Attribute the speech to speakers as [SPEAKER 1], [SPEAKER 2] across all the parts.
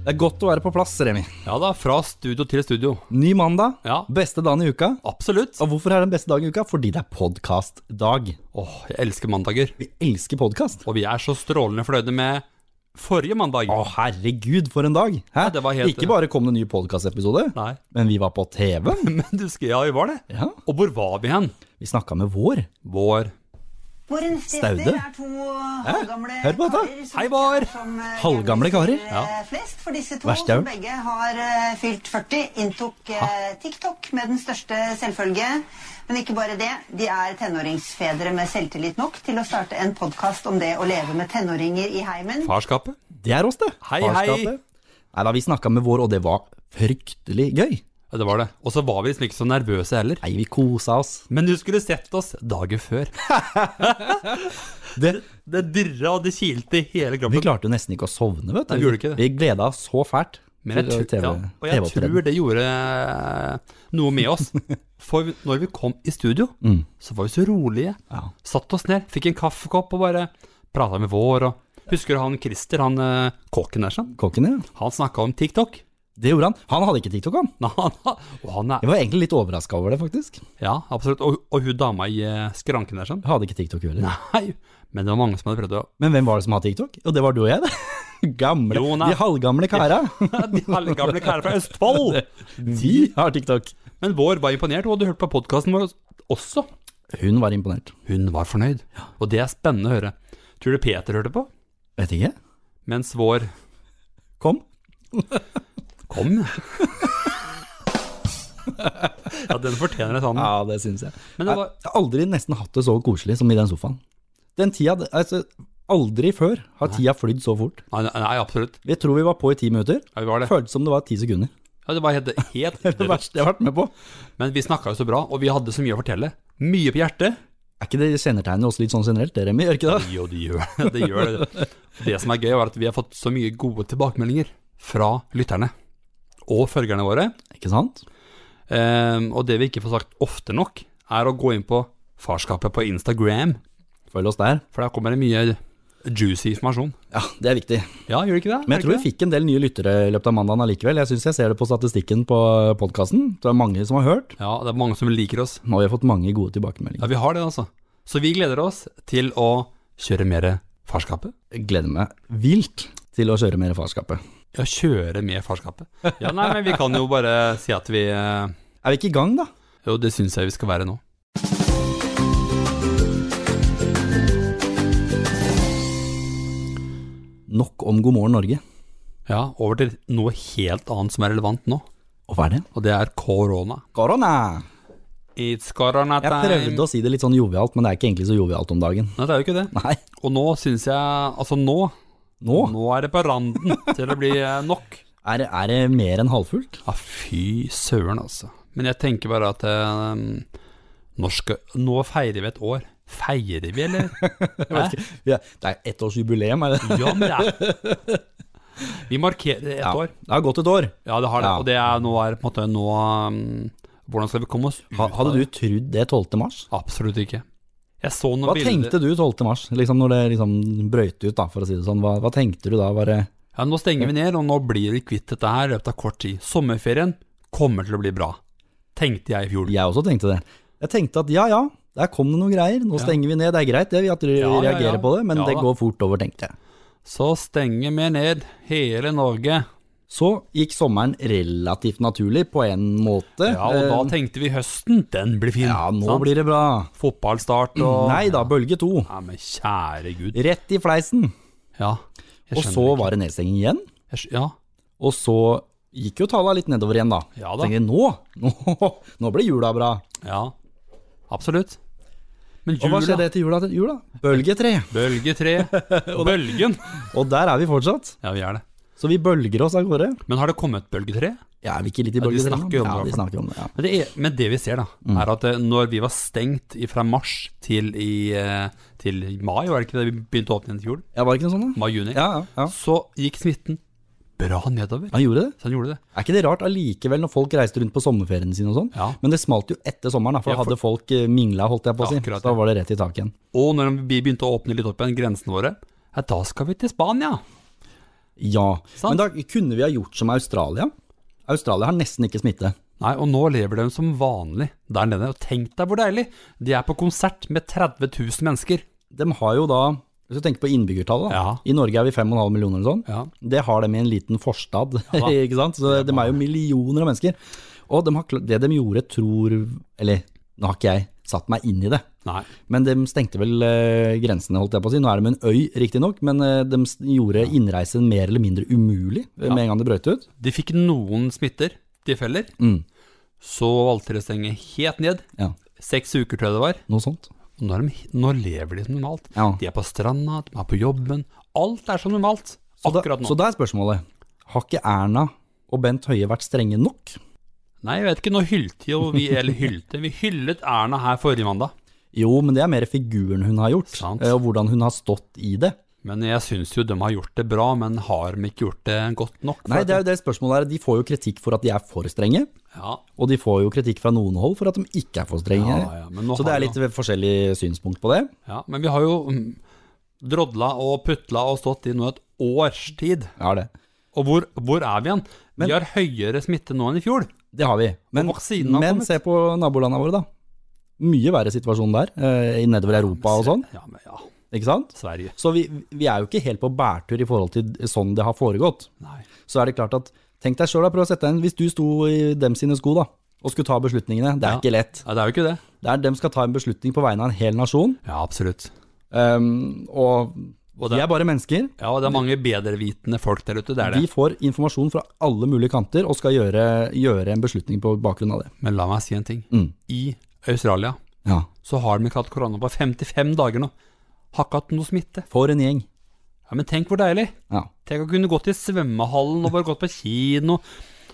[SPEAKER 1] Det er godt å være på plass, Remi.
[SPEAKER 2] Ja da, fra studio til studio.
[SPEAKER 1] Ny mandag,
[SPEAKER 2] Ja.
[SPEAKER 1] beste dagen i uka.
[SPEAKER 2] Absolutt. Åh,
[SPEAKER 1] Og hvorfor er det den beste dagen i uka? Fordi det er podkastdag.
[SPEAKER 2] jeg elsker mandager.
[SPEAKER 1] Vi elsker podkast.
[SPEAKER 2] Og vi er så strålende fornøyde med forrige mandag.
[SPEAKER 1] Å, herregud, for en dag! Hæ?
[SPEAKER 2] Ja, det var helt-
[SPEAKER 1] Ikke bare kom det en ny podkastepisode,
[SPEAKER 2] Nei,
[SPEAKER 1] men vi var på TV.
[SPEAKER 2] men du skal Ja, vi var det.
[SPEAKER 1] Ja.
[SPEAKER 2] Og hvor var vi hen?
[SPEAKER 1] Vi snakka med Vår.
[SPEAKER 2] Vår.
[SPEAKER 3] Vårens
[SPEAKER 1] Staude?
[SPEAKER 3] gjester er to halvgamle
[SPEAKER 1] Hør på dette.
[SPEAKER 3] karer som-
[SPEAKER 2] Hei, Bård.
[SPEAKER 3] som, eh,
[SPEAKER 1] Halvgamle
[SPEAKER 3] gjerne
[SPEAKER 1] karer?
[SPEAKER 3] sier, eh, Flest, for disse to,
[SPEAKER 1] Verst jeg
[SPEAKER 3] som
[SPEAKER 1] har hørt.
[SPEAKER 3] begge har eh, fylt 40, inntok eh, TikTok med den største selvfølge. Men ikke bare det. De er tenåringsfedre med selvtillit nok til å starte en podkast om det å leve med tenåringer i heimen.
[SPEAKER 2] Farskapet.
[SPEAKER 1] Det er oss, det.
[SPEAKER 2] Hei, hei.
[SPEAKER 1] Nei da, vi snakka med Vår, og det var fryktelig gøy.
[SPEAKER 2] Ja, det var det. Og så var vi liksom ikke så nervøse heller.
[SPEAKER 1] Nei, vi kosa oss.
[SPEAKER 2] Men du skulle sett oss dagen før.
[SPEAKER 1] Det,
[SPEAKER 2] Det dirra og det kilte i hele
[SPEAKER 1] vi
[SPEAKER 2] kroppen.
[SPEAKER 1] klarte jo nesten ikke å sovne, vet du.
[SPEAKER 2] Nei, vi gjorde ikke det.
[SPEAKER 1] Vi gleda oss så fælt.
[SPEAKER 2] Men jeg,
[SPEAKER 1] til
[SPEAKER 2] tror-
[SPEAKER 1] TV
[SPEAKER 2] ja, og jeg
[SPEAKER 1] TV-opptreden.
[SPEAKER 2] tror det gjorde eh, noe med oss. For vi- når vi kom i studio, så var vi så rolige.
[SPEAKER 1] Ja.
[SPEAKER 2] Satt oss ned, fikk en kaffekopp og bare prata med vår. Og husker du han Christer, han eh, kokken der, sånn?
[SPEAKER 1] Kokken, ja.
[SPEAKER 2] Han snakka om TikTok.
[SPEAKER 1] Det gjorde han. Han hadde ikke TikTok, han.
[SPEAKER 2] Nei, han, og han er
[SPEAKER 1] Jeg var egentlig litt overraska over det, faktisk.
[SPEAKER 2] Ja, absolutt. Og, og hun dama i eh, skranken der, sånn.
[SPEAKER 1] Jeg hadde ikke TikTok heller.
[SPEAKER 2] Nei, men det var mange som hadde prøvd å
[SPEAKER 1] Men hvem var det som hadde TikTok? Jo, det var du og jeg, det. Gamle,
[SPEAKER 2] Jonas.
[SPEAKER 1] De halvgamle kara.
[SPEAKER 2] De halvgamle karene fra Østfold!
[SPEAKER 1] De har TikTok.
[SPEAKER 2] Men vår var imponert, og hun hadde hørt på podkasten vår også.
[SPEAKER 1] Hun var imponert.
[SPEAKER 2] Hun var fornøyd, og det er spennende å høre. Tror du Peter hørte på?
[SPEAKER 1] Vet ikke.
[SPEAKER 2] Mens vår
[SPEAKER 1] Kom.
[SPEAKER 2] kom. ja, den fortjener et sånn.
[SPEAKER 1] Ja, det syns jeg.
[SPEAKER 2] Men det var-
[SPEAKER 1] Jeg har aldri nesten hatt det så koselig som i den sofaen. Den tida Altså, aldri før har tida flydd så fort.
[SPEAKER 2] Nei, nei, nei, absolutt.
[SPEAKER 1] Vi tror vi var på i ti minutter.
[SPEAKER 2] Ja, vi var det.
[SPEAKER 1] Føltes som det var ti sekunder.
[SPEAKER 2] Ja, det var helt, helt
[SPEAKER 1] Det verste jeg har vært med på.
[SPEAKER 2] Men vi snakka jo så bra, og vi hadde så mye å fortelle. Mye på hjertet.
[SPEAKER 1] Er ikke det kjennetegnet oss litt sånn generelt, det, Remi? Gjør ikke det?
[SPEAKER 2] Jo, det gjør det. Det gjør det. Det som er gøy, var at vi har fått så mye gode tilbakemeldinger fra lytterne og følgerne våre.
[SPEAKER 1] Ikke sant?
[SPEAKER 2] Ehm, og det vi ikke får sagt ofte nok, er å gå inn på farskapet på Instagram,
[SPEAKER 1] Følg oss der.
[SPEAKER 2] for der kommer det mye juicy informasjon.
[SPEAKER 1] Ja, det er viktig.
[SPEAKER 2] Ja, gjør det ikke det?
[SPEAKER 1] Men jeg tror vi fikk en del nye lyttere i løpet av mandagen allikevel. Jeg syns jeg ser det på statistikken på podkasten. Det er mange som har hørt,
[SPEAKER 2] Ja, det er mange som liker oss.
[SPEAKER 1] og vi har fått mange gode
[SPEAKER 2] Ja,
[SPEAKER 1] tilbakemeldinger.
[SPEAKER 2] vi har det, altså. Så vi gleder oss til å kjøre mer farskapet.
[SPEAKER 1] Jeg gleder meg vilt til å kjøre mer Farskapet.
[SPEAKER 2] Ja, kjøre med farskapet. Ja, nei, men vi kan jo bare si at vi eh,
[SPEAKER 1] Er vi ikke i gang, da?
[SPEAKER 2] Jo, det syns jeg vi skal være nå.
[SPEAKER 1] Nok om God morgen Norge.
[SPEAKER 2] Ja, over til noe helt annet som er relevant nå,
[SPEAKER 1] Og hva er det?
[SPEAKER 2] og det er korona.
[SPEAKER 1] Korona!
[SPEAKER 2] It's corona
[SPEAKER 1] Jeg prøvde å si det litt sånn jovialt, men det er ikke egentlig så jovialt om dagen.
[SPEAKER 2] Nei, det er jo ikke det.
[SPEAKER 1] Nei,
[SPEAKER 2] Og nå syns jeg Altså, nå
[SPEAKER 1] nå
[SPEAKER 2] Nå er det på randen til å bli eh, nok.
[SPEAKER 1] er, det- er det mer enn halvfullt.
[SPEAKER 2] Ja, fy søren, altså. Men jeg tenker bare at eh, norske Nå feirer vi et år. Feirer vi, eller? Hæ?
[SPEAKER 1] Ja, det er ettårsjubileum, er det?
[SPEAKER 2] Ja, men det er Vi markerer et
[SPEAKER 1] Ja,
[SPEAKER 2] år.
[SPEAKER 1] det har gått et år.
[SPEAKER 2] Ja, det har det.
[SPEAKER 1] Ja.
[SPEAKER 2] Og det er nå er på en måte nå um, Hvordan skal vi komme oss ut?
[SPEAKER 1] Ha- Hadde du trodd det 12. mars?
[SPEAKER 2] Absolutt ikke. Jeg så noen
[SPEAKER 1] Hva
[SPEAKER 2] bilder
[SPEAKER 1] tenkte du 12. mars, liksom når det liksom brøyt ut, da, for å si det sånn? Hva, hva tenkte du da? Var det
[SPEAKER 2] Ja, Nå stenger vi ned, og nå blir vi kvitt dette her i løpet av kort tid. Sommerferien kommer til å bli bra, tenkte jeg i fjor.
[SPEAKER 1] Jeg også tenkte det. Jeg tenkte at ja, ja, der kom det noen greier. Nå stenger vi ned. Det er greit det, vi at dere
[SPEAKER 2] Ja, ja,
[SPEAKER 1] reagerer
[SPEAKER 2] ja.
[SPEAKER 1] på det, men
[SPEAKER 2] Ja
[SPEAKER 1] det
[SPEAKER 2] da.
[SPEAKER 1] går fort over, tenkte jeg.
[SPEAKER 2] Så stenger vi ned hele Norge.
[SPEAKER 1] Så gikk sommeren relativt naturlig på en måte.
[SPEAKER 2] Ja, Og da
[SPEAKER 1] Eh,
[SPEAKER 2] tenkte vi høsten, den blir fin.
[SPEAKER 1] ja, nå
[SPEAKER 2] sant?
[SPEAKER 1] blir det bra.
[SPEAKER 2] Fotballstart og
[SPEAKER 1] Nei da, bølge to.
[SPEAKER 2] Ja, men kjære gud.
[SPEAKER 1] Rett i fleisen.
[SPEAKER 2] Ja.
[SPEAKER 1] Og så var det nedstenging igjen.
[SPEAKER 2] var Ja.
[SPEAKER 1] Og så gikk jo tallene litt nedover igjen, da.
[SPEAKER 2] Ja da.
[SPEAKER 1] Tenkte jeg, nå, nå, nå ble jula bra.
[SPEAKER 2] ja. Absolutt. Men
[SPEAKER 1] Og hva skjedde
[SPEAKER 2] jula,
[SPEAKER 1] etter jula? til jula? Bølge tre.
[SPEAKER 2] bølge tre, bølgen.
[SPEAKER 1] Og der er vi fortsatt.
[SPEAKER 2] Ja, vi er det.
[SPEAKER 1] Så vi bølger oss av gårde.
[SPEAKER 2] Men har det kommet bølge tre?
[SPEAKER 1] Ja, er vi ikke litt i
[SPEAKER 2] Ja, de
[SPEAKER 1] bølge tre? nå?
[SPEAKER 2] snakker jo om
[SPEAKER 1] Ja,
[SPEAKER 2] det, i hvert
[SPEAKER 1] de
[SPEAKER 2] fall.
[SPEAKER 1] snakker om det. Mm. Ja.
[SPEAKER 2] Men det, er, men det vi ser, da, er at eh, når vi var stengt fra mars til, i, eh, til mai, var det ikke det vi begynte å åpne igjen til jul?
[SPEAKER 1] Ja, var det ikke noe sånt, da?
[SPEAKER 2] Mai-juni.
[SPEAKER 1] Ja, ja, ja.
[SPEAKER 2] Så gikk smitten bra nedover.
[SPEAKER 1] Han gjorde det.
[SPEAKER 2] Så den gjorde det.
[SPEAKER 1] Er ikke det rart allikevel når folk reiste rundt på sommerferien sin og sånn?
[SPEAKER 2] Ja.
[SPEAKER 1] Men det smalt jo etter sommeren, da, for
[SPEAKER 2] Ja,
[SPEAKER 1] da
[SPEAKER 2] for-
[SPEAKER 1] hadde folk eh, mingla, holdt jeg på å si.
[SPEAKER 2] Ja, akkurat,
[SPEAKER 1] da
[SPEAKER 2] ja.
[SPEAKER 1] var det rett i tak igjen.
[SPEAKER 2] Og når vi begynte å åpne litt opp igjen grensene våre, ja, da skal vi til Spania.
[SPEAKER 1] Ja.
[SPEAKER 2] Sant.
[SPEAKER 1] Men da kunne vi ha gjort som Australia. Australia har nesten ikke smitte.
[SPEAKER 2] Nei, og nå lever de som vanlig der nede. Og tenk deg hvor deilig! De er på konsert med 30 000 mennesker.
[SPEAKER 1] De har jo da, hvis du tenker på innbyggertallet, da.
[SPEAKER 2] Ja.
[SPEAKER 1] i Norge er vi 5,5 millioner eller sånn.
[SPEAKER 2] Ja.
[SPEAKER 1] Det har de i en liten forstad, ikke sant? Så de er jo millioner av mennesker. Og de har, kla- det de gjorde, tror Eller nå har ikke jeg satt meg inn i det,
[SPEAKER 2] Nei.
[SPEAKER 1] men de stengte vel eh, grensene, holdt jeg på å si. Nå er de en øy, riktignok, men eh, de s- gjorde innreisen mer eller mindre umulig eh, med en gang det brøt ut.
[SPEAKER 2] De fikk noen smitter, de feller.
[SPEAKER 1] Mm.
[SPEAKER 2] Så valgte de å stenge helt ned.
[SPEAKER 1] Ja,
[SPEAKER 2] Seks uker, tror jeg det var.
[SPEAKER 1] noe sånt.
[SPEAKER 2] Og nå, er de, nå lever de som normalt.
[SPEAKER 1] Ja.
[SPEAKER 2] De er på stranda, de er på jobben. Alt er som normalt
[SPEAKER 1] Så da,
[SPEAKER 2] akkurat nå.
[SPEAKER 1] så da er spørsmålet, har ikke Erna og Bent Høie vært strenge nok?
[SPEAKER 2] Nei, jeg vet ikke, nå hylte jo vi, eller hylte, vi hyllet Erna her forrige mandag.
[SPEAKER 1] Jo, men det er mer figuren hun har gjort,
[SPEAKER 2] Sant.
[SPEAKER 1] eh, og hvordan hun har stått i det.
[SPEAKER 2] Men jeg syns jo de har gjort det bra, men har de ikke gjort det godt nok?
[SPEAKER 1] Nei, det er jo det spørsmålet her. De får jo kritikk for at de er for strenge,
[SPEAKER 2] Ja,
[SPEAKER 1] og de får jo kritikk fra noen hold for at de ikke er for strenge.
[SPEAKER 2] Ja, ja, men nå
[SPEAKER 1] så det
[SPEAKER 2] har
[SPEAKER 1] er
[SPEAKER 2] jo-
[SPEAKER 1] litt forskjellig synspunkt på det.
[SPEAKER 2] ja, men vi har jo mm, drodla og putla og stått i nå et års tid.
[SPEAKER 1] Ja, det.
[SPEAKER 2] Og hvor, hvor er vi igjen? vi har høyere smitte nå enn i fjor.
[SPEAKER 1] Det har vi. Men,
[SPEAKER 2] Og vaksinen har
[SPEAKER 1] men
[SPEAKER 2] kommet.
[SPEAKER 1] se på nabolandene våre, da. Mye verre situasjon der, eh, i nedover Europa og sånn.
[SPEAKER 2] Ja, men ja,
[SPEAKER 1] Ikke sant?
[SPEAKER 2] Sverige.
[SPEAKER 1] Så vi, vi er jo ikke helt på bærtur i forhold til sånn det har foregått.
[SPEAKER 2] Nei.
[SPEAKER 1] Så er det klart at Tenk deg sjøl, da. Prøv å sette deg inn Hvis du sto i dem sine sko, da. Og skulle ta beslutningene. Det er
[SPEAKER 2] Ja.
[SPEAKER 1] ikke lett.
[SPEAKER 2] Ja, det er jo ikke det.
[SPEAKER 1] Det er, de skal ta en beslutning på vegne av en hel nasjon.
[SPEAKER 2] Ja, absolutt.
[SPEAKER 1] Um, og,
[SPEAKER 2] Og
[SPEAKER 1] de
[SPEAKER 2] det-
[SPEAKER 1] er bare mennesker.
[SPEAKER 2] Ja, og det er mange bedrevitende folk der ute, det er det.
[SPEAKER 1] De får informasjon fra alle mulige kanter og skal gjøre, gjøre en beslutning på bakgrunn av det.
[SPEAKER 2] Men la meg si en ting.
[SPEAKER 1] Mm.
[SPEAKER 2] I Australia
[SPEAKER 1] Ja.
[SPEAKER 2] så har de ikke hatt korona på 55 dager nå. Har ikke hatt noe smitte.
[SPEAKER 1] For en gjeng.
[SPEAKER 2] Ja, Men tenk hvor deilig.
[SPEAKER 1] Ja.
[SPEAKER 2] Tenk å kunne gått i svømmehallen og bare gått på kino.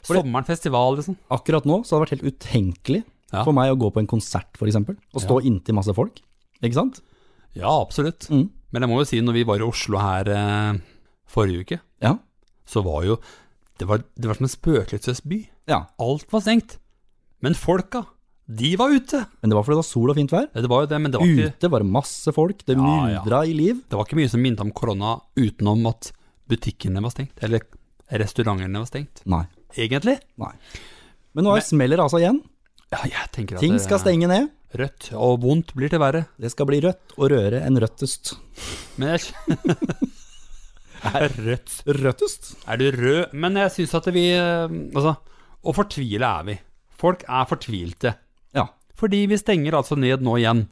[SPEAKER 2] Sommeren festival, liksom.
[SPEAKER 1] Akkurat nå så hadde det vært helt utenkelig
[SPEAKER 2] Ja.
[SPEAKER 1] for meg å gå på en konsert, f.eks. Og stå inntil masse folk. Ikke sant?
[SPEAKER 2] Ja, absolutt.
[SPEAKER 1] Mm.
[SPEAKER 2] Men jeg må jo si, når vi var i Oslo her eh, forrige uke,
[SPEAKER 1] Ja.
[SPEAKER 2] så var jo Det var, det var som en spøkelsesby.
[SPEAKER 1] ja.
[SPEAKER 2] Alt var stengt. Men folka, de var ute!
[SPEAKER 1] Men det var fordi det var sol og fint vær.
[SPEAKER 2] Ja, Det var jo det, men det var ikke
[SPEAKER 1] Ute var det masse folk. Det
[SPEAKER 2] Ja, ja.
[SPEAKER 1] myldra i liv.
[SPEAKER 2] Det var ikke mye som minnet om korona utenom at butikkene var stengt, eller restaurantene var stengt.
[SPEAKER 1] Nei.
[SPEAKER 2] Egentlig.
[SPEAKER 1] Nei. Men nå er smeller det altså igjen.
[SPEAKER 2] Ja, jeg tenker at
[SPEAKER 1] Ting
[SPEAKER 2] det-
[SPEAKER 1] skal stenge ned.
[SPEAKER 2] Rødt og vondt blir til verre.
[SPEAKER 1] Det skal bli rødt og rødere enn røttest.
[SPEAKER 2] Men jeg Rødt.
[SPEAKER 1] Røttest?
[SPEAKER 2] Er du rød? Men jeg syns at vi eh, Altså, å fortvile er vi. Folk er fortvilte.
[SPEAKER 1] Ja.
[SPEAKER 2] Fordi vi stenger altså ned nå igjen.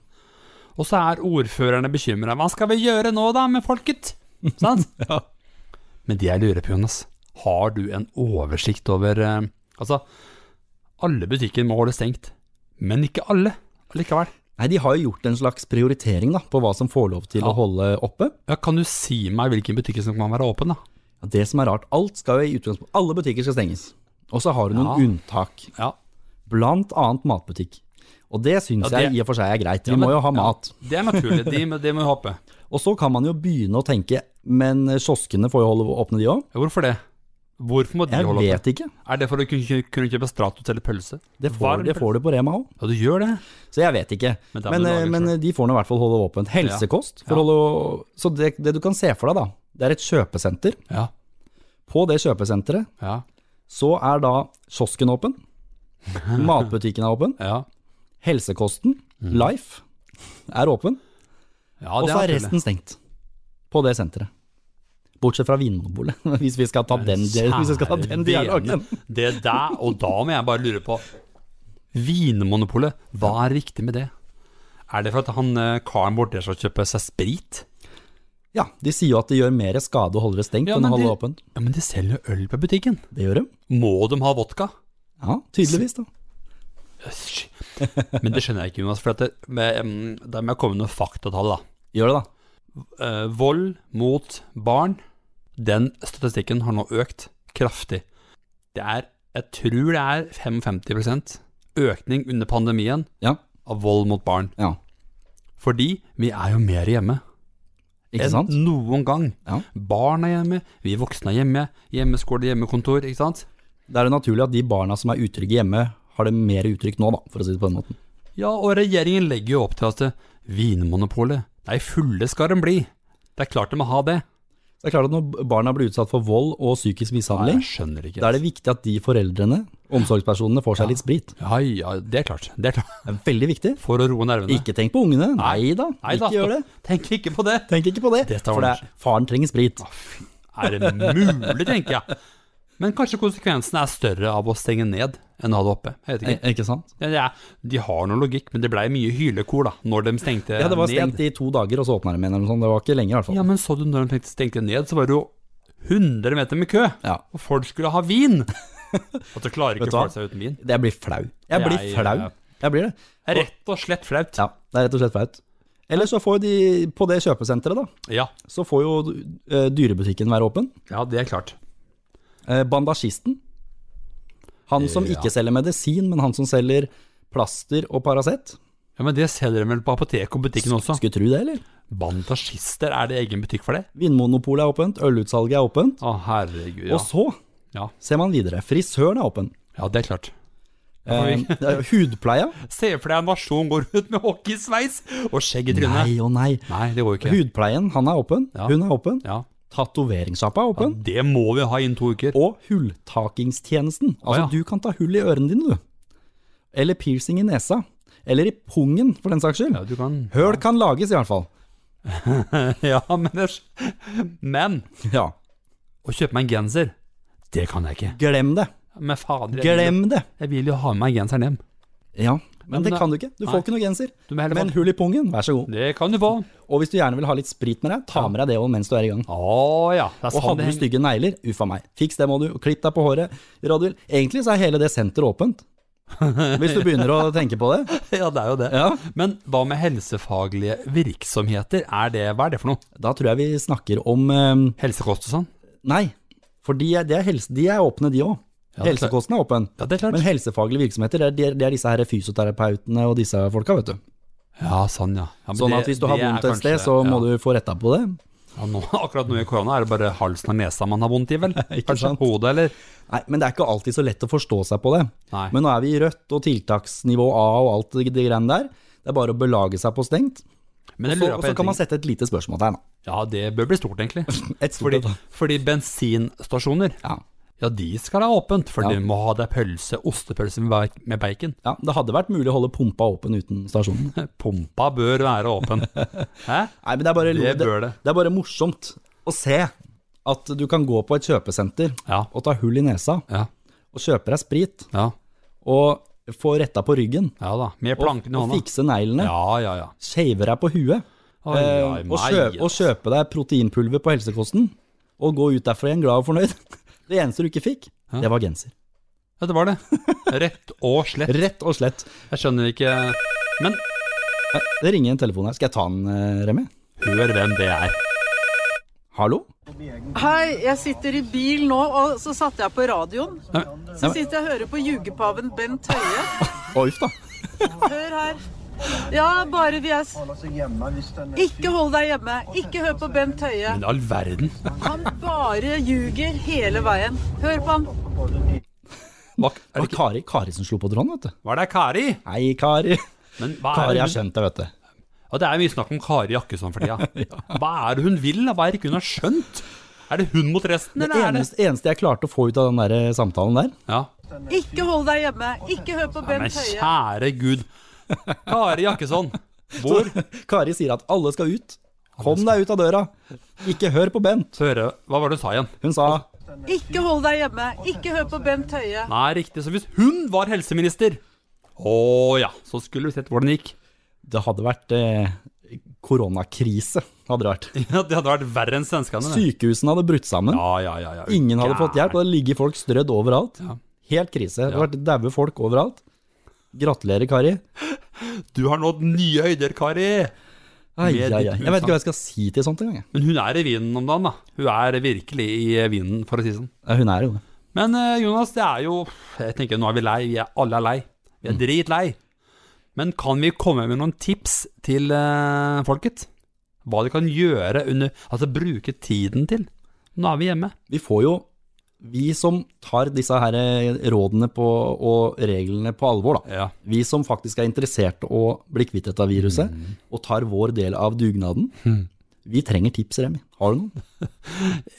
[SPEAKER 2] Og så er ordførerne bekymra. Hva skal vi gjøre nå, da, med folket? Sant? Men det jeg lurer på, Jonas, har du en oversikt over eh, Altså, alle butikker må holde stengt, men ikke alle allikevel.
[SPEAKER 1] Nei, de har jo gjort en slags prioritering da, på hva som får lov til
[SPEAKER 2] Ja.
[SPEAKER 1] å holde oppe.
[SPEAKER 2] Ja, kan du si meg hvilken butikk som kan være åpen, da?
[SPEAKER 1] Ja, Det som er rart, alt skal jo i utgangspunkt, alle butikker skal stenges. Og så har du noen
[SPEAKER 2] Ja.
[SPEAKER 1] unntak,
[SPEAKER 2] Ja,
[SPEAKER 1] blant annet matbutikk. Og det syns
[SPEAKER 2] Ja, det-
[SPEAKER 1] jeg i og for seg er greit, vi
[SPEAKER 2] Ja, men-
[SPEAKER 1] må jo ha
[SPEAKER 2] ja.
[SPEAKER 1] mat.
[SPEAKER 2] Det er naturlig, det, må- det må vi håpe.
[SPEAKER 1] Og så kan man jo begynne å tenke, men kioskene får jo holde åpne de òg.
[SPEAKER 2] Ja, Hvorfor det? Hvorfor må de
[SPEAKER 1] Jeg
[SPEAKER 2] holde åpent?
[SPEAKER 1] vet ikke.
[SPEAKER 2] Er det for å kunne, kunne kjøpe Stratos eller pølse?
[SPEAKER 1] Det får,
[SPEAKER 2] Varm
[SPEAKER 1] det får du på Rema òg,
[SPEAKER 2] Ja, du gjør det.
[SPEAKER 1] så jeg vet ikke.
[SPEAKER 2] Men da må
[SPEAKER 1] Men,
[SPEAKER 2] du
[SPEAKER 1] eh,
[SPEAKER 2] lage
[SPEAKER 1] men
[SPEAKER 2] selv.
[SPEAKER 1] de får nå i hvert fall holde åpent. Helsekost.
[SPEAKER 2] Ja.
[SPEAKER 1] For å holde, så det, det du kan se for deg, da, det er et kjøpesenter.
[SPEAKER 2] Ja,
[SPEAKER 1] På det kjøpesenteret
[SPEAKER 2] ja,
[SPEAKER 1] så er da kiosken åpen, matbutikken er åpen,
[SPEAKER 2] ja.
[SPEAKER 1] helsekosten, Life, er åpen,
[SPEAKER 2] ja
[SPEAKER 1] og
[SPEAKER 2] det
[SPEAKER 1] så er
[SPEAKER 2] naturlig.
[SPEAKER 1] resten stengt på det senteret. Bortsett fra Vinmonopolet, hvis vi skal ta den, di- hvis vi skal ta den dialogen.
[SPEAKER 2] Kjære vene, Det der, og da må jeg bare lure på Vinmonopolet, hva er riktig med det? Er det for at han eh, karen borti der skal kjøpe seg sprit?
[SPEAKER 1] Ja, de sier jo at det gjør mer skade å holde det stengt
[SPEAKER 2] Ja,
[SPEAKER 1] enn å
[SPEAKER 2] men
[SPEAKER 1] holde det
[SPEAKER 2] de-
[SPEAKER 1] åpent.
[SPEAKER 2] Ja, men de selger jo øl på butikken.
[SPEAKER 1] Det gjør de.
[SPEAKER 2] Må de ha vodka?
[SPEAKER 1] Ja, tydeligvis, da.
[SPEAKER 2] Øsj. Men det skjønner jeg ikke, Jonas. For at det, med, em, der må jeg komme med noen faktatall, da.
[SPEAKER 1] Gjør det, da.
[SPEAKER 2] Eh, vold mot barn, den statistikken har nå økt kraftig. Det er, jeg tror det er 55 økning under pandemien
[SPEAKER 1] Ja.
[SPEAKER 2] av vold mot barn.
[SPEAKER 1] ja.
[SPEAKER 2] Fordi vi er jo mer hjemme
[SPEAKER 1] Ikke sant?
[SPEAKER 2] enn noen gang.
[SPEAKER 1] Ja.
[SPEAKER 2] Barn er hjemme, vi voksne er hjemme, hjemmeskole, hjemmekontor, ikke sant?
[SPEAKER 1] Da er det naturlig at de barna som er utrygge hjemme, har det mer utrygt nå, da, for å si det på den måten.
[SPEAKER 2] Ja, og regjeringen legger jo opp til at det- Vinmonopolet, nei, fulle skal de bli. Det er klart de må ha det.
[SPEAKER 1] Så Det er klart at Når barna blir utsatt for vold og psykisk
[SPEAKER 2] Nei,
[SPEAKER 1] mishandling,
[SPEAKER 2] jeg skjønner ikke.
[SPEAKER 1] da er det viktig at de foreldrene, omsorgspersonene, får seg litt sprit.
[SPEAKER 2] Ja, ja, det er klart. Det er klart.
[SPEAKER 1] Det er veldig viktig.
[SPEAKER 2] For å roe nervene.
[SPEAKER 1] Ikke tenk på ungene. Nei da,
[SPEAKER 2] Nei da,
[SPEAKER 1] ikke gjør det.
[SPEAKER 2] Tenk ikke på det.
[SPEAKER 1] Tenk ikke på det.
[SPEAKER 2] Det tar
[SPEAKER 1] for
[SPEAKER 2] Ah,
[SPEAKER 1] det er, faren trenger sprit.
[SPEAKER 2] Er det mulig, tenker jeg. Men kanskje konsekvensen er større av å stenge ned enn å ha det oppe. Jeg vet ikke.
[SPEAKER 1] Eh, Ikke sant?
[SPEAKER 2] Ja, det er- de har noe logikk, men det blei mye hylekor da, når de stengte
[SPEAKER 1] Ja, det var stengt
[SPEAKER 2] ned.
[SPEAKER 1] Eh, i to dager, og så åpna de igjen eller noe sånt. Det var ikke lenge, i hvert fall.
[SPEAKER 2] Ja, men så du når de tenkte- stengte ned, så var det jo 100 meter med kø.
[SPEAKER 1] Ja.
[SPEAKER 2] Og folk skulle ha vin! At du klarer
[SPEAKER 1] Vet
[SPEAKER 2] ikke
[SPEAKER 1] du hva?
[SPEAKER 2] folk seg uten vin.
[SPEAKER 1] Jeg blir flau. Jeg blir
[SPEAKER 2] Jeg,
[SPEAKER 1] flau.
[SPEAKER 2] eh,
[SPEAKER 1] Jeg blir det.
[SPEAKER 2] Det er Rett og slett flaut.
[SPEAKER 1] Ja, det er rett og slett flaut. Eller så får jo de, på det kjøpesenteret, da,
[SPEAKER 2] Ja.
[SPEAKER 1] så får jo eh, dyrebutikken være åpen.
[SPEAKER 2] ja, det er klart.
[SPEAKER 1] Eh, Bandasjisten. Han som
[SPEAKER 2] Ja.
[SPEAKER 1] ikke selger medisin, men han som selger plaster og Paracet.
[SPEAKER 2] Ja, Men det selger de vel på apoteket og butikken også?
[SPEAKER 1] Skulle tro det, eller?
[SPEAKER 2] Bandasjister, er det egen butikk for det?
[SPEAKER 1] Vinmonopolet er åpent, ølutsalget er åpent.
[SPEAKER 2] Å, herregud. Ja.
[SPEAKER 1] Og så
[SPEAKER 2] ja.
[SPEAKER 1] ser man videre. Frisøren er åpen.
[SPEAKER 2] ja, det er klart.
[SPEAKER 1] Eh, hudpleia.
[SPEAKER 2] Se for deg en nasjon går rundt med hockeysveis og skjegg i trynet.
[SPEAKER 1] Nei og nei.
[SPEAKER 2] Nei, det går jo ikke.
[SPEAKER 1] Hudpleien, han er åpen.
[SPEAKER 2] Ja.
[SPEAKER 1] Hun er åpen.
[SPEAKER 2] Ja.
[SPEAKER 1] Tatoveringssjappa er åpen.
[SPEAKER 2] Det må vi ha innen to uker.
[SPEAKER 1] Og hulltakingstjenesten. Altså,
[SPEAKER 2] ja.
[SPEAKER 1] du kan ta hull i ørene dine, du. Eller piercing i nesa. Eller i pungen, for den saks skyld.
[SPEAKER 2] Ja, du kan
[SPEAKER 1] Høl kan lages, i hvert fall.
[SPEAKER 2] Ja, men det er s- Men
[SPEAKER 1] Ja.
[SPEAKER 2] å kjøpe meg en genser, det kan jeg ikke.
[SPEAKER 1] Glem det.
[SPEAKER 2] Men fader, jeg, vil jo-
[SPEAKER 1] Glem det.
[SPEAKER 2] jeg vil jo ha med meg genseren hjem.
[SPEAKER 1] Ja, men,
[SPEAKER 2] Men
[SPEAKER 1] det
[SPEAKER 2] da-
[SPEAKER 1] kan du ikke. Du
[SPEAKER 2] nei.
[SPEAKER 1] får ikke noe genser.
[SPEAKER 2] Du må heller
[SPEAKER 1] Men
[SPEAKER 2] få-
[SPEAKER 1] hull i pungen, vær så god.
[SPEAKER 2] Det kan du få.
[SPEAKER 1] Og hvis du gjerne vil ha litt sprit med deg, ta med deg det også mens du er i gang.
[SPEAKER 2] Å ja. Det
[SPEAKER 1] Og
[SPEAKER 2] er sånn
[SPEAKER 1] hadde
[SPEAKER 2] det
[SPEAKER 1] du
[SPEAKER 2] henger.
[SPEAKER 1] stygge negler, uffa meg. Fiks det må du, og klipp deg på håret. Radul. Egentlig så er hele det senteret åpent. Hvis du begynner å tenke på det.
[SPEAKER 2] Ja, det er jo det.
[SPEAKER 1] Ja.
[SPEAKER 2] Men hva med helsefaglige virksomheter? Er det, hva er det for noe?
[SPEAKER 1] Da tror jeg vi snakker om eh,
[SPEAKER 2] Helsekost og sånn?
[SPEAKER 1] Nei, for de er, det er helse, de er åpne de òg.
[SPEAKER 2] Ja, det er klart.
[SPEAKER 1] Helsekosten er åpen.
[SPEAKER 2] Ja, det er klart.
[SPEAKER 1] Men helsefaglige virksomheter, det er, de er- det er disse her fysioterapeutene og disse folka, vet du.
[SPEAKER 2] Ja, sånn, ja. ja men
[SPEAKER 1] Sånn
[SPEAKER 2] det-
[SPEAKER 1] at hvis du har
[SPEAKER 2] det er
[SPEAKER 1] vondt et sted,
[SPEAKER 2] kanskje-
[SPEAKER 1] så må
[SPEAKER 2] ja.
[SPEAKER 1] du få retta på det.
[SPEAKER 2] Ja, nå, akkurat nå i korona er det bare halsen og nesa man har vondt i, vel? Kanskje
[SPEAKER 1] sant?
[SPEAKER 2] hodet, eller?
[SPEAKER 1] Nei, Men det er ikke alltid så lett å forstå seg på det.
[SPEAKER 2] Nei.
[SPEAKER 1] Men nå er vi i rødt og tiltaksnivå A og alt det, det greiene der. Det er bare å belage seg på stengt.
[SPEAKER 2] Men jeg
[SPEAKER 1] Så,
[SPEAKER 2] lurer på
[SPEAKER 1] så
[SPEAKER 2] en
[SPEAKER 1] kan man
[SPEAKER 2] ting.
[SPEAKER 1] sette et lite spørsmålstegn. da.
[SPEAKER 2] Ja, det bør bli stort, egentlig.
[SPEAKER 1] Et stort
[SPEAKER 2] Fordi,
[SPEAKER 1] et, da.
[SPEAKER 2] fordi bensinstasjoner,
[SPEAKER 1] Ja.
[SPEAKER 2] ja, de skal ha åpent. For
[SPEAKER 1] Ja.
[SPEAKER 2] du må ha deg pølse, ostepølse med ba- med bacon.
[SPEAKER 1] ja, det hadde vært mulig å holde pumpa åpen uten stasjonen.
[SPEAKER 2] Pumpa bør være åpen. Hæ?
[SPEAKER 1] Nei, men det er bare,
[SPEAKER 2] Det bør det.
[SPEAKER 1] det er bare morsomt å se at du kan gå på et kjøpesenter
[SPEAKER 2] Ja.
[SPEAKER 1] og ta hull i nesa
[SPEAKER 2] Ja.
[SPEAKER 1] og kjøpe deg sprit
[SPEAKER 2] Ja.
[SPEAKER 1] og få retta på ryggen
[SPEAKER 2] Ja da. Med
[SPEAKER 1] og,
[SPEAKER 2] planken i
[SPEAKER 1] og
[SPEAKER 2] hånda.
[SPEAKER 1] fikse neglene,
[SPEAKER 2] Ja, ja, ja.
[SPEAKER 1] shave deg på huet
[SPEAKER 2] Oi,
[SPEAKER 1] eh,
[SPEAKER 2] oi,
[SPEAKER 1] og, kjøpe, og kjøpe deg proteinpulver på helsekosten og gå ut derfra igjen glad og fornøyd. Det eneste du ikke fikk, det var genser.
[SPEAKER 2] Ja, det var det. Rett og slett.
[SPEAKER 1] Rett og slett.
[SPEAKER 2] Jeg skjønner ikke Men
[SPEAKER 1] Nei, Det ringer en telefon her. Skal jeg ta den, eh, Remi?
[SPEAKER 2] hør hvem det er.
[SPEAKER 1] Hallo?
[SPEAKER 4] Hei, jeg sitter i bil nå, og så satte jeg på radioen. Så sitter jeg og hører på jugepaven Bent Høie.
[SPEAKER 1] Å, uff da.
[SPEAKER 4] Hør her. Ja, bare vi er s-
[SPEAKER 5] holde seg hjemme hvis den
[SPEAKER 4] Ikke hold deg hjemme. Ikke hør på Bent Høie.
[SPEAKER 2] Men all verden.
[SPEAKER 4] Han bare ljuger hele veien. Hør på han.
[SPEAKER 2] Hva
[SPEAKER 1] Er det Kari, Kari som slo på tråden, vet du?
[SPEAKER 2] var det, Kari?
[SPEAKER 1] Hei, Kari.
[SPEAKER 2] Men hva er
[SPEAKER 1] Kari
[SPEAKER 2] det
[SPEAKER 1] har
[SPEAKER 2] hun-
[SPEAKER 1] skjønt det, vet du.
[SPEAKER 2] Ja, det er mye snakk om Kari Jakkesson for tida. Hva er det hun vil? da? Hva er det ikke hun har skjønt? Er det hun mot resten,
[SPEAKER 1] Det
[SPEAKER 2] eller er det
[SPEAKER 1] eneste, eneste jeg klarte å få ut av den der eh, samtalen der
[SPEAKER 2] Ja.
[SPEAKER 4] Ikke hold deg hjemme. Ikke hør på
[SPEAKER 2] Men
[SPEAKER 4] Bent Høie.
[SPEAKER 2] kjære gud. Kari Jakkesson, hvor
[SPEAKER 1] Kari sier at alle skal ut. Kom deg ut av døra. Ikke hør på Bent.
[SPEAKER 2] Høre, Hva var det hun sa igjen?
[SPEAKER 1] Hun sa
[SPEAKER 4] Ikke hold deg hjemme. Ikke hør på Bent Høie.
[SPEAKER 2] Nei, riktig. Så hvis hun var helseminister Å ja, så skulle vi sett hvordan det gikk.
[SPEAKER 1] det hadde vært eh, koronakrise. Hadde det vært.
[SPEAKER 2] Ja, Det hadde vært verre enn svenskene. det.
[SPEAKER 1] Sykehusene hadde brutt sammen.
[SPEAKER 2] Ja, ja, ja, ja.
[SPEAKER 1] Ingen hadde fått hjelp.
[SPEAKER 2] Gæren.
[SPEAKER 1] og Det ligger folk strødd overalt.
[SPEAKER 2] Ja.
[SPEAKER 1] Helt krise. Det hadde vært daue folk overalt. Gratulerer, Kari.
[SPEAKER 2] Du har nådd nye høyder, Kari.
[SPEAKER 1] Ai,
[SPEAKER 2] Med
[SPEAKER 1] ai, ai.
[SPEAKER 2] ditt
[SPEAKER 1] Jeg vet ikke hva jeg skal si til sånt engang. jeg.
[SPEAKER 2] Men hun er i vinden om dagen, da. Hun er virkelig i vinden, for å si det sånn.
[SPEAKER 1] Ja, Hun er jo det.
[SPEAKER 2] Men eh, Jonas, det er jo Jeg tenker nå er vi lei, vi er alle er lei Vi er dritlei Men kan vi komme med noen tips til eh, folket? Hva de kan gjøre under Altså bruke tiden til Nå er vi hjemme
[SPEAKER 1] Vi får jo Vi som tar disse her eh, rådene på, og reglene på alvor, da.
[SPEAKER 2] Ja,
[SPEAKER 1] Vi som Mm. faktisk er interessert å bli kvitt dette viruset, og tar vår del av dugnaden. Vi trenger tips, Remi. Har du noen?